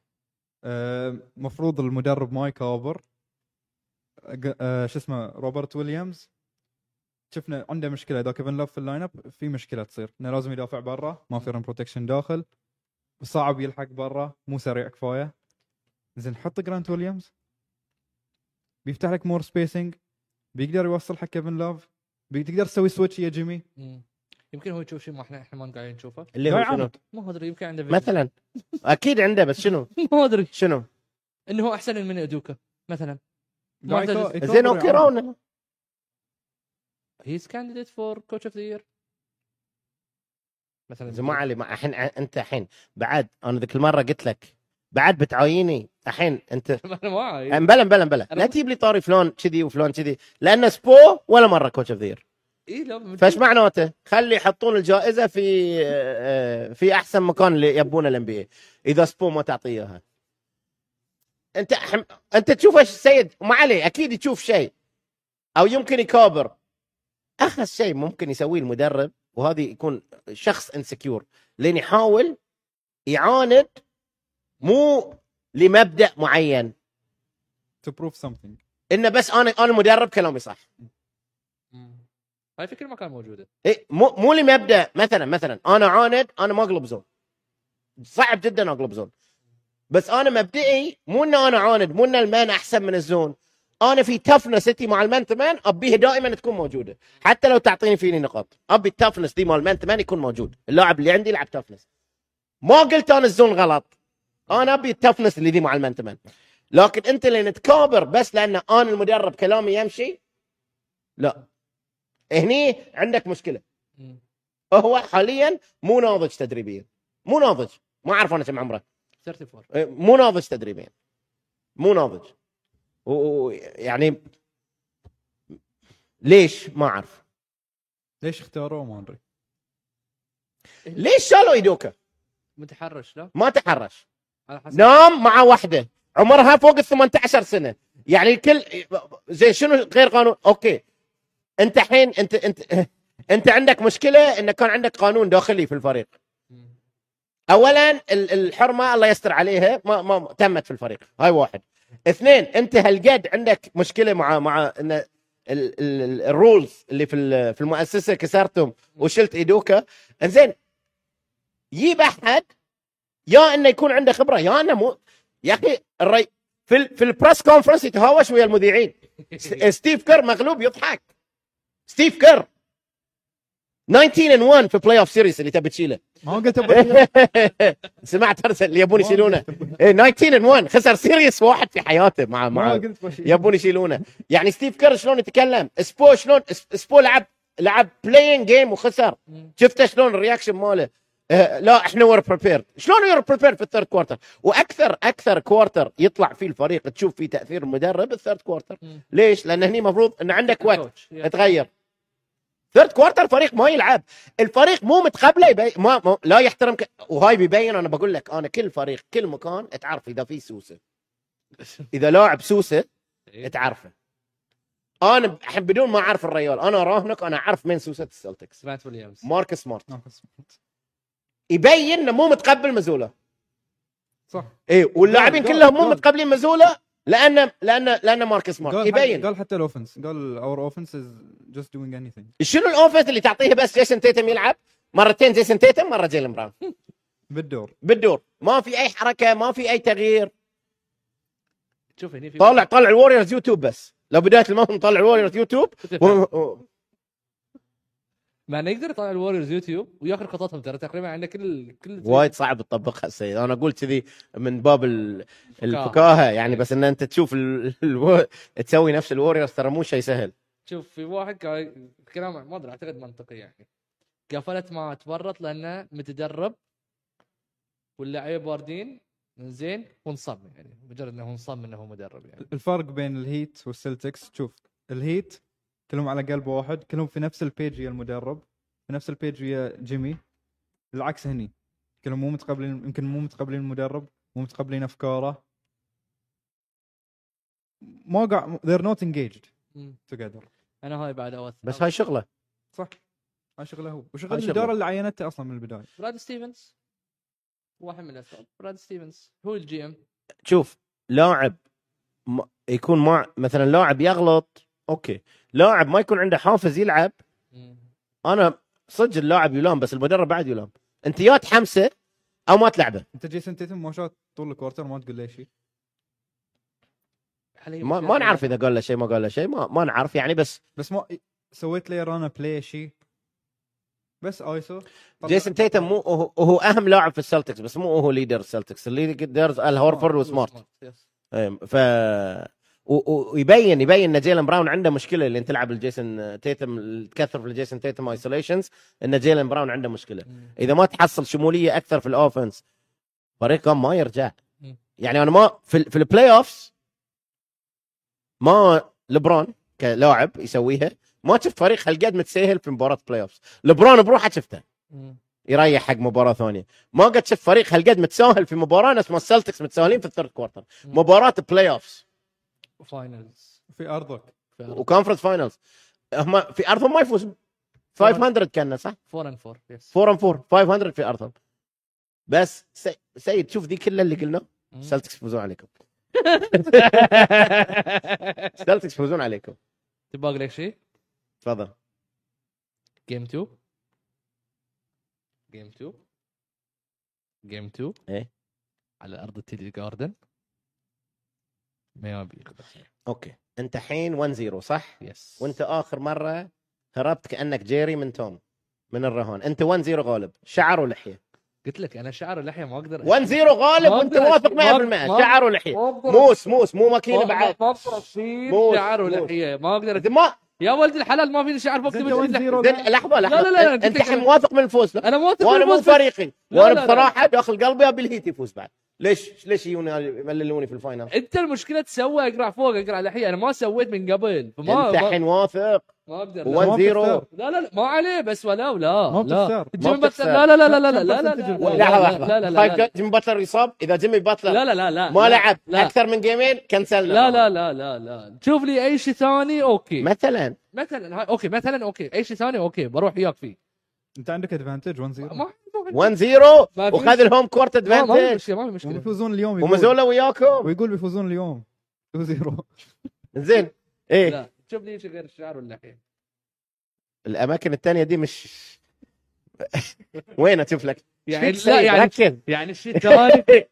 C: المفروض آه، المدرب مايك هوبر أق- آه، شو اسمه روبرت ويليامز شفنا عنده مشكله اذا كيفن لوف في اللاين اب في مشكله تصير انه لازم يدافع برا ما في رن بروتكشن داخل صعب يلحق برا مو سريع كفايه زين حط جرانت ويليامز بيفتح لك مور سبيسنج بيقدر يوصل حق كيفن لوف بتقدر تسوي سويتش يا جيمي
A: مم. يمكن هو يشوف شيء ما احنا احنا ما قاعدين نشوفه
B: اللي
C: لا
B: هو شنو
C: يعاند.
A: ما ادري يمكن عنده فيجن.
B: مثلا اكيد عنده بس شنو
A: ما ادري
B: شنو
A: انه هو احسن من ادوكا مثلا ما
C: قاعد
A: يحتاج-
C: يكو-
B: زين
C: يكو-
B: اوكي راونا
A: هيز كانديديت فور كوتش اوف ذا يير مثلا
B: زين ما علي ما الحين انت الحين بعد انا ذيك المره قلت لك بعد بتعايني الحين انت
A: انا ما عايز.
B: إيه. بلا بلا بلا
A: أنا
B: لا
A: مو-
B: تجيب لي طاري فلان كذي وفلان كذي لان سبو ولا مره كوتش اوف ذير
A: اي إيه، لا
B: فايش معناته؟ خلي يحطون الجائزه في آه، في احسن مكان اللي يبونه الان بي اذا سبو ما تعطيه اياها انت حم... انت تشوف ايش السيد ما عليه اكيد يشوف شيء او يمكن يكابر اخر شيء ممكن يسويه المدرب وهذه يكون شخص انسكيور لين يحاول يعاند مو لمبدا معين
C: to prove something
B: انه بس انا انا مدرب كلامي صح
A: مم. هاي فكره ما كان موجوده
B: إيه مو مو لمبدا مثلا مثلا انا عاند انا ما اقلب زون صعب جدا اقلب زون بس انا مبدئي مو ان انا عاند مو ان المان احسن من الزون انا في تفنستي مع المان تمان ابيها دائما تكون موجوده حتى لو تعطيني فيني نقاط ابي التفنس دي مال المان تمان يكون موجود اللاعب اللي عندي يلعب تفنس ما قلت انا الزون غلط انا ابي التفنس اللي دي مع المان تمان لكن انت لين تكابر بس لان انا المدرب كلامي يمشي لا هني عندك مشكله
A: مم.
B: هو حاليا مو ناضج تدريبيا مو ناضج ما اعرف انا كم عمره
A: 34
B: إيه، مو ناضج تدريبيا مو ناضج و- و- يعني ليش ما اعرف
C: ليش اختاروه ما ادري
B: ليش شالوا ايدوكا
A: متحرش لا
B: ما تحرش
A: على حسب
B: نام مع واحده عمرها فوق ال 18 سنه يعني الكل زين شنو غير قانون اوكي انت الحين انت انت انت عندك مشكله انه كان عندك قانون داخلي في الفريق
A: مم.
B: اولا ال- الحرمه الله يستر عليها ما, ما ما- تمت في الفريق هاي واحد اثنين انت هالقد عندك مشكله مع مع ان ال- ال- ال- الرولز اللي في ال- في المؤسسه كسرتهم وشلت ايدوكا انزين جيب احد يا انه يكون عنده خبره يا انه مو يا اخي الري... في ال... في البريس كونفرنس يتهاوش ويا المذيعين س- إيه. ستيف كير مغلوب يضحك ستيف كير 19 ان 1 في بلاي اوف سيريز اللي تبي تشيله
C: ما هو قلت ابو
B: سمعت ارسل اللي إيه، يبون يشيلونه إيه، 19 ان 1 خسر سيريس واحد في حياته مع
C: ما
B: مع
C: قلت بشيء
B: يبون يشيلونه يعني ستيف كير شلون يتكلم سبو شلون إس- سبو لعب لعب بلاين جيم وخسر شفته شلون الرياكشن ماله آه لا احنا وير بريبيرد شلون وير بريبيرد في الثيرد كوارتر واكثر اكثر كوارتر يطلع فيه الفريق تشوف فيه تاثير المدرب الثيرد كوارتر
A: مم.
B: ليش لان هني مفروض ان عندك وقت
A: Coach. Yeah.
B: تغير ثيرد كوارتر الفريق ما يلعب الفريق مو متقبله يبي... ما... ما... لا يحترم ك... وهاي بيبين انا بقول لك انا كل فريق كل مكان تعرف اذا في سوسه اذا لاعب سوسه تعرفه انا ب- الحين بدون ما اعرف الريال انا راهنك انا اعرف من سوسه السلتكس
A: سمعت ويليامز
B: مارك سمارت
C: ناقص.
B: يبين انه مو متقبل مزوله
C: صح
B: اي واللاعبين
C: جول،
B: كلهم مو
C: جول.
B: متقبلين مزوله لان لان لان مارك سمارت
C: قال حتى-
B: يبين
C: قال حتى الاوفنس قال اور اوفنس از جاست دوينج اني ثينج
B: شنو الاوفنس اللي تعطيه بس جيسون تيتم يلعب مرتين جيسون تيتم مره جيلن براون
C: بالدور
B: بالدور ما في اي حركه ما في اي تغيير
A: شوف هني في
B: طالع طالع الوريورز يوتيوب بس لو بدايه الموسم طالع الوريورز يوتيوب و... و-
A: مع انه يقدر يطلع الوريورز يوتيوب وياخذ خططهم ترى تقريبا عندنا كل كل
B: وايد صعب تطبقها السيد انا اقول كذي من باب ال- الفكاهه يعني بس ان انت تشوف ال... ال... تسوي نفس الوريورز ترى مو شيء سهل
A: شوف في واحد قال كلام ما ادري اعتقد منطقي يعني قفلت ما تورط لانه متدرب واللاعبين باردين زين وانصم يعني مجرد انه انصم انه هو مدرب يعني
C: الفرق بين الهيت والسلتكس شوف الهيت كلهم على قلب واحد كلهم في نفس البيج ويا المدرب في نفس البيج ويا جيمي العكس هني كلهم مو متقبلين يمكن مو متقبلين المدرب مو متقبلين افكاره ما قاع they're not engaged
A: مم.
C: together
A: انا هاي بعد اوث
B: بس هاي شغله
C: صح هاي شغله هو وشغل
B: هاي شغله.
C: الاداره اللي عينته اصلا من البدايه
A: براد ستيفنز واحد من الاسباب براد ستيفنز هو الجي ام
B: شوف لاعب م... يكون مع مثلا لاعب يغلط اوكي لاعب ما يكون عنده حافز يلعب انا صدق اللاعب يلام بس المدرب بعد يلام انت يا تحمسه او ما تلعبه
C: انت جيسون تيتم ما شات طول الكوارتر ما تقول له شيء
A: أيوة،
B: ما, ما نعرف اذا قال له شيء ما قال له شيء ما, ما نعرف يعني بس
C: بس ما سويت لي رانا بلاي شيء بس ايسو طلع-
B: جيسون تيتم مو هو, هو اهم لاعب في السلتكس بس مو هو ليدر السلتكس الليدرز ال هورفورد
A: آه،
B: وسمارت إيه، ف و- و- ويبين يبين ان جيلن براون عنده مشكله اللي انت تلعب الجيسون تيتم تكثر في الجيسون تيتم ايسوليشنز ان جيلن براون عنده مشكله اذا ما تحصل شموليه اكثر في الاوفنس فريقهم ما يرجع
A: مم.
B: يعني انا ما في, ال- في البلاي اوفس ما لبرون كلاعب يسويها ما شفت فريق هالقد متسهل في مباراه بلاي اوفس لبرون بروحه شفته يريح حق مباراه ثانيه ما قد شفت فريق هالقد متساهل في مباراه نفس ما السلتكس متساهلين في الثيرد كوارتر مباراه بلاي اوفس
A: فاينلز
C: في ارضك
B: وكونفرنس فاينلز هم في ارضهم ما يفوز 500 كان صح
A: 4 اند 4 يس
B: 4 and 4 500 في ارضهم بس سي- سيد شوف ذي كلها اللي قلنا سلتكس يفوزون عليكم سلتكس يفوزون عليكم
A: تبغى اقول لك شيء؟
B: تفضل
A: جيم 2 جيم 2 جيم 2
B: إيه.
A: على ارض التيدي جاردن ميامي
B: اوكي انت الحين 1 0 صح
A: يس
B: وانت اخر مره هربت كانك جيري من توم من الرهان انت 1 0 غالب شعر ولحيه
A: قلت لك انا شعر اللحيه ما اقدر
B: 1 0 غالب وانت
A: ما
B: واثق
A: أقدر- ما أقدر-
B: 100% شعر ولحيه
A: ما أقدر-
B: موس موس مو
A: ما
B: ماكينه بعد
A: ما اقدر اشيل
B: موس،
A: شعر
B: موس.
A: ولحيه ما اقدر
B: أنت ما
A: يا ولد الحلال ما فيني شعر
C: زين
A: بكتب
C: جوان
A: اللحية.
C: زيرو
B: زين لحظه لحظه
A: لا، لا، لا،
B: انت
A: قلت لك
B: الحين
A: أنا-
B: واثق من الفوز لا؟
A: انا موافق
B: وانا مو
A: بالفوز،
B: فريقي
A: لا، لا،
B: وانا
A: لا.
B: بصراحه داخل قلبي ابي الهيت يفوز بعد ليش ليش يجوني يمللوني في الفاينل
A: انت المشكله تسوي اقرع فوق اقرع لحيه انا ما سويت من قبل فما
B: انت
A: ما,
B: الحين واثق
A: ما اقدر لا.
C: وين- ما
B: 1 0
A: لا لا لا ما عليه بس ولا ولا
C: ما
A: لا
C: بتخسر.
A: جيمي
B: ما
A: باتلر لا
B: بتخسر.
A: لا لا لا لا لا لا لا
C: تسجل
A: لا
C: جول.
B: لحظه
A: لا
B: لحظه
A: لا لا لا
B: طيب جيمي باتلر يصاب اذا جيمي باتلر
A: لا لا لا لا
B: ما
A: لا.
B: لعب
A: لا.
B: اكثر من جيمين كنسلنا
A: لا لا لا لا لا شوف لي اي شيء ثاني اوكي
B: مثلا
A: مثلا هاي اوكي مثلا اوكي اي شيء ثاني اوكي بروح وياك فيه
C: انت عندك ادفانتج 1 0
A: ما ما
B: 1 0
A: ما في-
B: وخذ الهوم كورت
A: ما- ما في
B: ادفانتج
A: مشكله ما في مشكله
C: وبيفوزون اليوم يقول-
B: ومزولا وياكم
C: ويقول بيفوزون اليوم 2 0
B: زين ايه
A: لا شوف لي شيء غير الشعر واللحيه
B: الاماكن الثانيه دي مش وين اشوف لك؟
A: يعني
B: شو
A: لا
B: تسوي؟
A: يعني
B: ركز.
A: يعني الشيء الثاني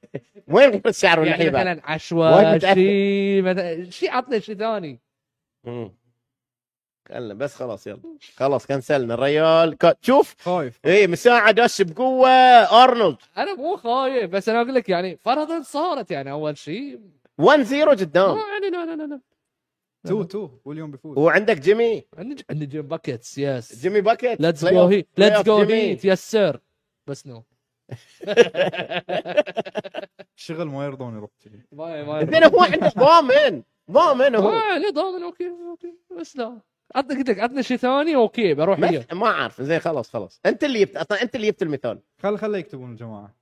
B: وين غير الشعر
A: يعني
B: واللحيه
A: مثلا عشوة
B: وايد متأثر.
A: شيء مثلا شيء عطني شيء ثاني
B: مم. خلنا بس خلاص يلا خلاص كنسلنا الريال كا- شوف إيه،
C: خايف
B: اي مساعد دش بقوه ارنولد
A: انا مو خايف بس انا اقول لك يعني فرضا صارت يعني اول شيء
B: 1 0 قدام
A: ما يعني لا لا لا لا
C: تو تو واليوم بيفوز
B: وعندك جيمي
A: عندنا عندنا جيم باكيتس يس
B: جيمي باكيت
A: ليتس
B: Play
A: جو
B: off-
A: هي
B: play
A: ليتس
B: off
A: جو
B: جيمي.
A: هيت يس سير بس نو
C: الشغل ما يرضون يروح
A: ما ما
B: زين هو عنده ضامن ضامن هو
A: اه لا ضامن اوكي اوكي بس لا عطني قلت لك عطني شيء ثاني اوكي بروح
B: ما-
A: وياه
B: ما اعرف زين خلاص خلاص انت اللي جبت اصلا انت اللي جبت المثال
C: خل خل يكتبون الجماعه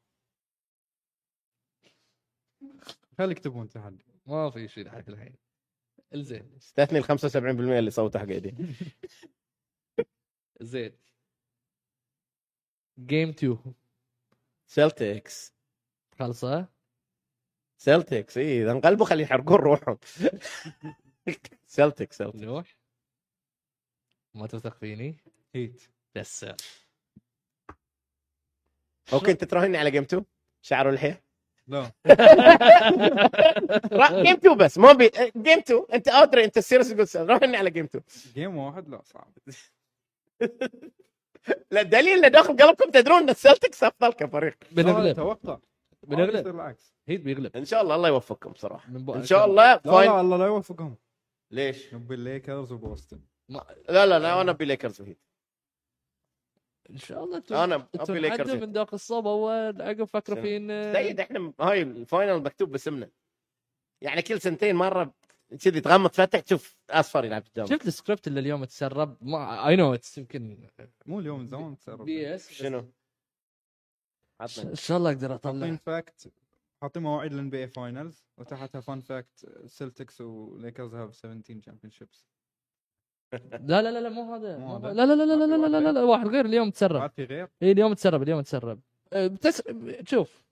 C: خل يكتبون تحدي
A: ما في شيء لحد الحين الزين
B: استثني ال 75% اللي صوته حق ايدي
A: زين جيم 2
B: سلتكس
A: خلصه
B: سلتكس اي اذا إيه، انقلبوا خليه يحرقون روحهم سلتكس سلتكس
A: نروح ما تثق فيني
C: هيت
A: بس سير
B: اوكي انت تراهني على جيم 2 شعر والحيه
C: لا
B: راح جيم 2 بس ما بي جيم 2 انت ادري انت السيريس تقول سل- راهني على جيم 2
C: جيم واحد لا صعب
B: لا الدليل انه داخل قلبكم تدرون ان السلتكس افضل كفريق
C: آه،
A: بنغلب
C: توقع آه،
A: بنغلب
C: يصير العكس
A: هيت بيغلب
B: ان شاء الله الله يوفقكم صراحه
A: من بو-
B: ان شاء الله
C: لا لا
B: فاين
C: الله لا يوفقهم
B: ليش؟
C: نبي الليكرز وبوسطن
B: لا لا لا انا ابي ليكرز وهيت
A: ان شاء الله انتم
B: انا
A: انتم
B: ابي ليكرز
A: نعدل
B: وهيت.
A: من ذاك الصوب اول عقب فكروا فينا
B: سيد احنا هاي الفاينل مكتوب باسمنا يعني كل سنتين مره كذي تغمض فتح تشوف اصفر يلعب قدام
A: شفت السكريبت اللي اليوم تسرب ما اي نو اتس يمكن
C: مو اليوم من زمان تسرب
A: بي اس بس-
B: شنو؟
A: ش-
B: عطنا
A: ان شاء الله اقدر
C: حاطين
A: اطلع
C: فاكت حاطين مواعيد الان بي اي فاينلز وتحتها فان فاكت سلتكس وليكرز هاف 17 شامبيون شيبس
A: لا لا لا لا مو هذا
C: مو
A: مو
C: هذا.
A: هذا. لا لا لا لا لا لا لا, لا, لا واحد غير اليوم تسرب
C: بعد في
B: آه.
C: غير
A: اي اليوم تسرب اليوم تسرب أه، بتس... شوف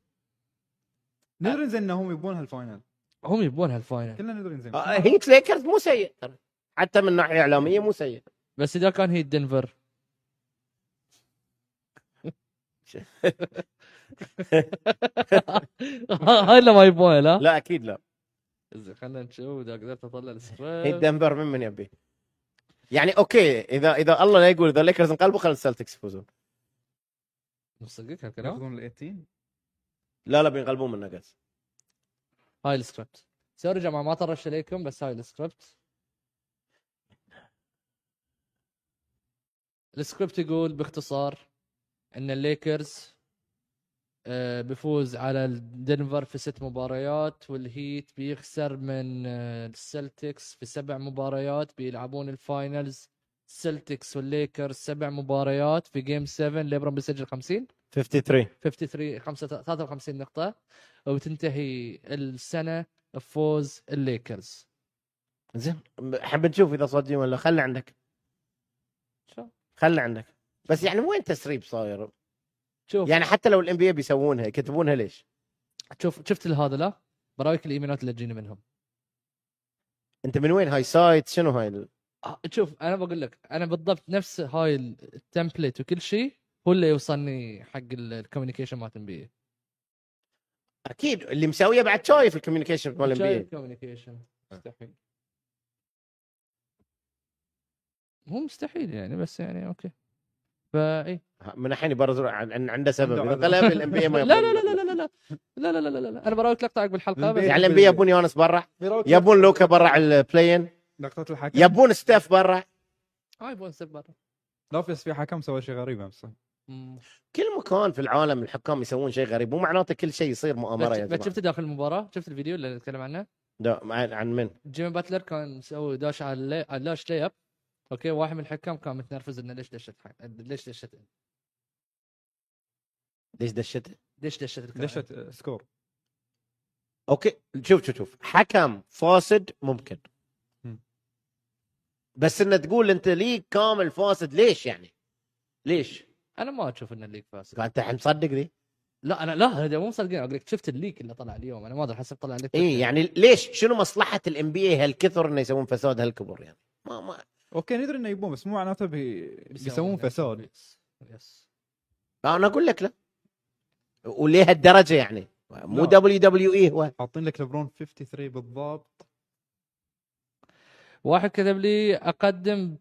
C: ندري زين انهم يبون هالفاينل
A: هم يبون هالفاينل
C: كلنا ندري زين
B: آه، هيت ليكرز مو سيء ترى حتى من ناحيه اعلاميه مو سيء
A: بس اذا كان هي دنفر هاي اللي ما يبونه لا
B: لا اكيد
C: آه.
B: لا
A: زين، خلينا نشوف اذا قدرت اطلع
B: هيت
A: السكريبت
B: دنفر من من يبي يعني اوكي اذا اذا الله لا يقول اذا ليكرز انقلبوا خلي السلتكس يفوزون
A: مصدقك هالكلام
C: ياخذون ال 18
B: لا لا بينقلبون من النقص
A: هاي السكريبت سوري يا جماعه ما طرش عليكم بس هاي السكريبت السكريبت يقول باختصار ان الليكرز آه، بيفوز على الدنفر في ست مباريات والهيت بيخسر من آه، السلتكس في سبع مباريات بيلعبون الفاينلز السلتكس والليكرز سبع مباريات في جيم 7 ليبرون بيسجل 50
B: 53
A: 53 5 53 نقطة وتنتهي السنة بفوز الليكرز
B: زين حاب نشوف اذا صادقين ولا خلي عندك
A: شو؟
B: خلي عندك بس يعني وين تسريب صاير؟
A: شوف
B: يعني حتى لو الام بي بيسوونها يكتبونها ليش؟
A: شوف شفت هذا لا برايك الايميلات اللي تجيني منهم
B: انت من وين هاي سايت شنو هاي ال-
A: آه، شوف انا بقول لك انا بالضبط نفس هاي ال- التمبليت وكل شيء هو اللي يوصلني حق ال- الكوميونيكيشن مالت ام بي
B: اكيد اللي مسويه بعد شايف الكوميونيكيشن مال الام
A: الكوميونيكيشن مستحيل مو مستحيل يعني بس يعني اوكي فاي
B: من الحين يبرز روح، عن- عن- عنده سبب
C: عنده
B: اذا
C: عذر.
B: طلب الام بي ما
A: لا لا لا لا لا لا لا لا لا لا لا لا انا برايك لقطه عقب الحلقه بس
B: يعني الام بي يبون يونس برا يبون لوكا برا على البلاين
C: لقطه الحكم
B: يبون ستاف برا
A: هاي بون سب برا
C: لا بس في حكم سوى شيء غريب امس
A: مم.
B: كل مكان في العالم الحكام يسوون شيء غريب مو معناته كل شيء يصير مؤامره يا
A: بس
B: جماعه
A: شفت داخل المباراه شفت الفيديو اللي نتكلم عنه
B: لا، عن عن من؟
A: جيمي باتلر كان مسوي داش على اللي- على اللاش ليب اوكي واحد من الحكام كان متنرفز انه ليش دشت حق- ليش دشت
B: ليش دشته؟
A: ليش دشت الكرة؟
C: دشت آه، سكور
B: اوكي شوف شوف شوف حكم فاسد ممكن
C: مم.
B: بس انه تقول انت ليج كامل فاسد ليش يعني؟ ليش؟
A: انا ما اشوف ان الليك فاسد
B: قال انت الحين مصدق ذي؟
A: لا انا لا هذا مو مصدقين اقول لك شفت الليك اللي طلع اليوم انا ما ادري حسب طلع لك
B: اي يعني ليش؟ شنو مصلحه الام بي اي هالكثر انه يسوون فساد هالكبر يعني؟ ما ما يعني.
C: اوكي ندري انه يبون بس مو معناته بي... بيسوون فساد
A: يس
B: انا اقول لك لا ولهالدرجه يعني مو
C: لا.
B: دبليو دبليو اي هو
C: حاطين لك لبرون 53 بالضبط
A: واحد كتب لي اقدم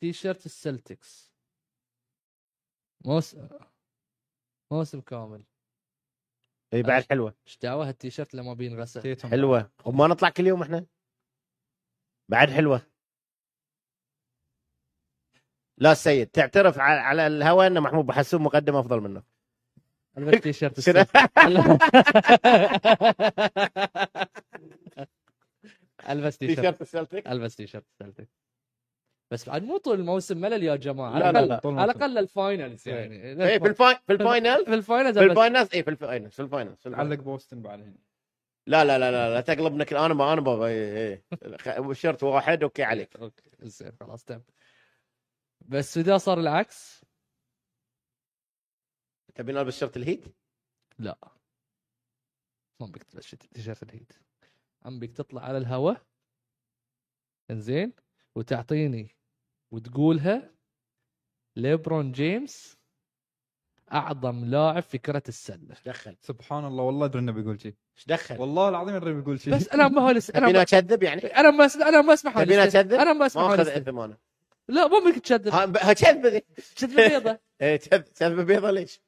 A: تي شيرت السلتكس موسم موسم كامل
B: اي إيه، بعد حلوه
A: ايش دعوه هالتيشيرت لما بينغسل
C: تيتهم.
B: حلوه وما نطلع كل يوم احنا بعد حلوه لا السيد تعترف على, على الهواء ان محمود بحسون مقدم افضل منه
A: علبة التيشيرت السلتكس البس تيشيرت
B: السلتيك
A: البس تيشيرت السلتكس بس بعد مو طول الموسم ملل يا جماعه
B: لا،
A: على
B: لا،
A: الاقل
B: لا.
C: طول ما
A: على
C: تم.
A: الاقل الفاينلز يعني
B: اي إيه، في الفاينل في الفاينل
A: في الفاينلز
B: في
A: ألبس-
B: الفاينل اي في الفاينل في الفاينل في الفاينل.
C: علق بوستن بعد هنا
B: لا لا لا لا, لا تقلبنا كل انا ما انا ما إيه، اي اي شرط واحد اوكي عليك
A: اوكي زين خلاص تم بس اذا صار العكس
B: تبي نلبس شرط الهيت؟
A: لا ما بك تلبس تيشيرت الهيت عم بك تطلع على الهواء انزين وتعطيني وتقولها ليبرون جيمس اعظم لاعب في كره السله
B: ايش دخل؟
C: سبحان الله والله ادري انه بيقول شيء
B: ايش دخل؟
C: والله العظيم ادري بيقول شيء
A: بس انا ما هالس... انا
B: تبينا
A: ما...
B: اكذب يعني؟
A: انا ما أس- انا ما اسمح
B: تبينا
A: هالست-
B: اكذب؟
A: انا ما اسمح
B: ما اخذ
A: هالست.
B: اثم انا
A: لا ما بدك تشذب
B: ها- ب- ها كذب ذي.
A: شذب بيضه
B: إيه، كذب كذب بيضه ليش؟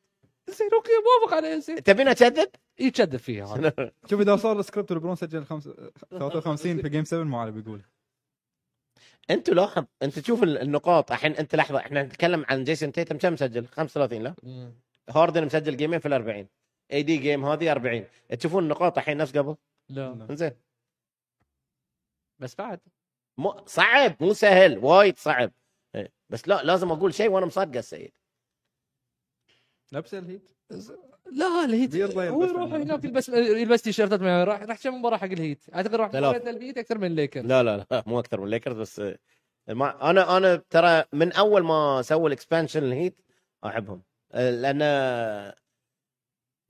A: زين اوكي موافق على زين
B: تبينا اكذب؟
A: يكذب فيها هذا
B: آه.
C: شوف اذا صار السكريبت لبرون سجل خمس- 53 في جيم 7 ما عاد بيقول
B: انت لاحظ انت تشوف ال- النقاط الحين انت لحظه احنا نتكلم عن جيسون تيتم كم مسجل؟ 35 لا؟
A: مم.
B: هاردن مسجل جيمين في ال 40 اي دي جيم هذه 40 تشوفون النقاط الحين نفس قبل؟
A: لا
B: زين
A: بس بعد
B: مو صعب مو سهل وايد صعب إيه. بس لا لازم اقول شيء وانا مصدقه السيد
C: لبس الهيت
A: لا الهيت
C: بيرضى
A: هو
C: يلبس
A: يروح
C: بالمرة.
A: هناك يلبس يلبس تيشيرتات ما- راح راح كم مباراه حق الهيت اعتقد راح
B: ثلاث.
A: مباراه الهيت اكثر من الليكرز
B: لا لا لا مو اكثر من ليكرز بس آه، ما انا انا ترى من اول ما سووا الاكسبانشن الهيت احبهم آه، لان آه،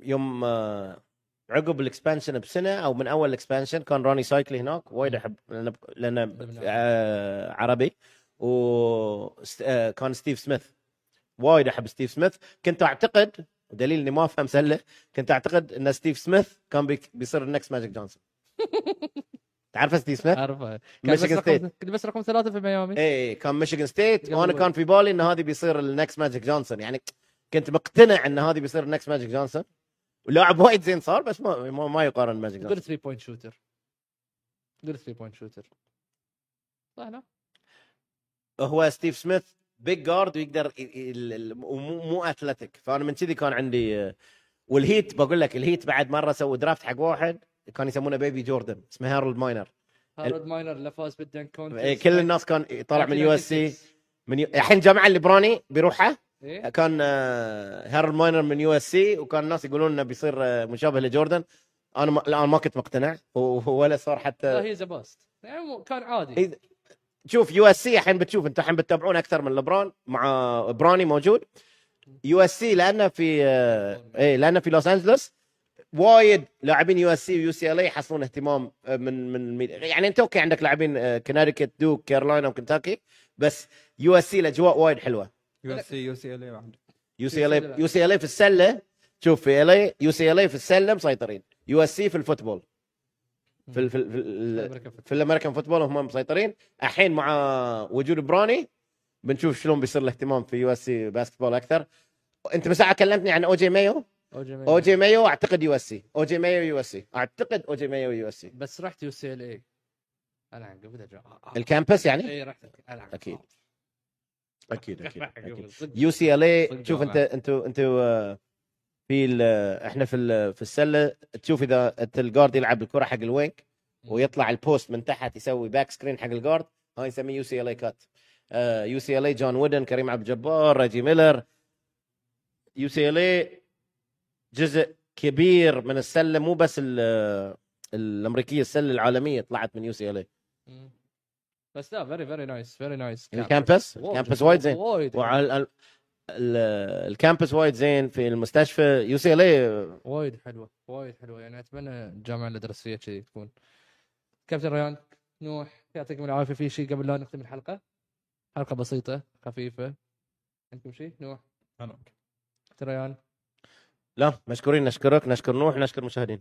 B: يوم آه، عقب الاكسبانشن بسنه او من اول الاكسبانشن كان روني سايكلي هناك وايد احب لان لان آه، عربي وكان ستيف سميث وايد احب ستيف سميث كنت اعتقد دليل اني ما افهم سله كنت اعتقد ان ستيف سميث كان بي- بيصير النكس ماجيك جونسون تعرف ستيف سميث؟
A: اعرفها كان بس
B: ميشيغان
A: رقم
B: ستيت إيه.
A: كان بس رقم ثلاثه في ميامي
B: اي كان ميشيغان ستيت
A: قبل
B: وانا
A: وين؟
B: كان في بالي ان هذه بيصير النكس ماجيك جونسون يعني كنت مقتنع ان هذه بيصير النكس ماجيك جونسون ولاعب وايد زين صار بس ما ما, ما يقارن ماجيك
A: غير
B: جونسون
A: 3 بوينت شوتر غير 3 بوينت شوتر صح لا
B: هو ستيف سميث بيج جارد ويقدر ي- ي- ال- ال- ومو مو اثلتيك فانا من كذي كان عندي آه، والهيت بقول لك الهيت بعد مره سووا درافت حق واحد كان يسمونه بيبي جوردن اسمه هارولد ماينر
A: هارد ماينر اللي فاز بالدنك
B: إيه،
A: كونتست
B: كل الناس كان طالع من يو اس سي من يو- الحين جامعه الليبراني بيروحه
A: إيه؟
B: كان آه، هارل ماينر من يو اس سي وكان الناس يقولون انه بيصير آه، مشابه لجوردن انا ما الان ما كنت مقتنع و- ولا صار حتى
A: هي ذا باست يعني مو- كان عادي
B: إيه. شوف يو اس سي الحين بتشوف انت الحين بتتابعون اكثر من لبران مع براني موجود يو اس سي لانه في آه، ايه لانه في لوس انجلوس وايد لاعبين يو اس سي ويو سي ال يحصلون اهتمام آه، من من ميد- يعني انت اوكي عندك لاعبين كونتيكت دوك كارولاينا وكنتاكي بس يو اس سي الاجواء وايد حلوه
C: يو اس سي يو سي إيه، ال اي
A: في
B: يو سي ال
A: السلة.
B: يو سي إيه. ال في السله شوف في ال يو سي ال في السله مسيطرين يو اس سي في الفوتبول في ال في ال في, ال
A: أمريكا فت-
B: في الامريكان فوتبول هم مسيطرين الحين مع وجود بروني بنشوف شلون بيصير الاهتمام في يو اس سي باسكتبول اكثر انت من ساعه كلمتني عن او جي مايو
A: أوجي مينو.
B: او جي مايو اعتقد يو اس سي او جي مايو يو اس سي اعتقد او جي مايو يو اس سي
A: بس رحت يو سي ال اي انا عن قبل أجا- آه، آه.
B: الكامبس يعني
A: اي رحت انا عن-
B: أكيد.
A: آه.
B: اكيد
A: قبل، صدق.
B: يو سي ال اي
A: صدق
B: شوف انت
A: والله.
B: انتوا انتوا آه، في ال- آه، احنا في ال- في السله تشوف اذا انت الجارد يلعب الكره حق الوينك ويطلع البوست من تحت يسوي باك سكرين حق الجارد هاي نسميه يو سي ال اي كات آه، يو سي ال اي جون وودن كريم عبد الجبار ريجي ميلر يو سي ال اي جزء كبير من السله مو بس ال- آه، الامريكيه السله العالميه طلعت من يو سي إيه. ال اي
A: مم. بس لا فيري فيري نايس فيري نايس
B: الكامبس الكامبس وايد زين
A: وايد
B: وعلى ال- ال- الكامبس وايد زين في المستشفى يو سي ال اي
A: وايد حلوه وايد حلوه يعني اتمنى الجامعه اللي درست فيها كذي تكون كابتن ريان نوح يعطيكم العافيه في شيء قبل لا نختم الحلقه حلقه بسيطه خفيفه عندكم شيء نوح
C: انا
A: ريان
B: لا مشكورين نشكرك نشكر نوح نشكر مشاهدين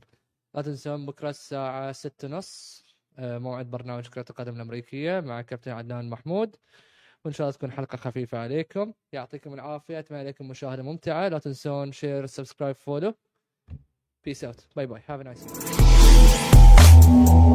A: لا تنسون بكره الساعه 6:30 آه، موعد برنامج كره القدم الامريكيه مع كابتن عدنان محمود وان شاء الله تكون حلقه خفيفه عليكم يعطيكم العافيه اتمنى لكم مشاهده ممتعه لا تنسون شير سبسكرايب فولو بيس اوت باي باي هاف نايس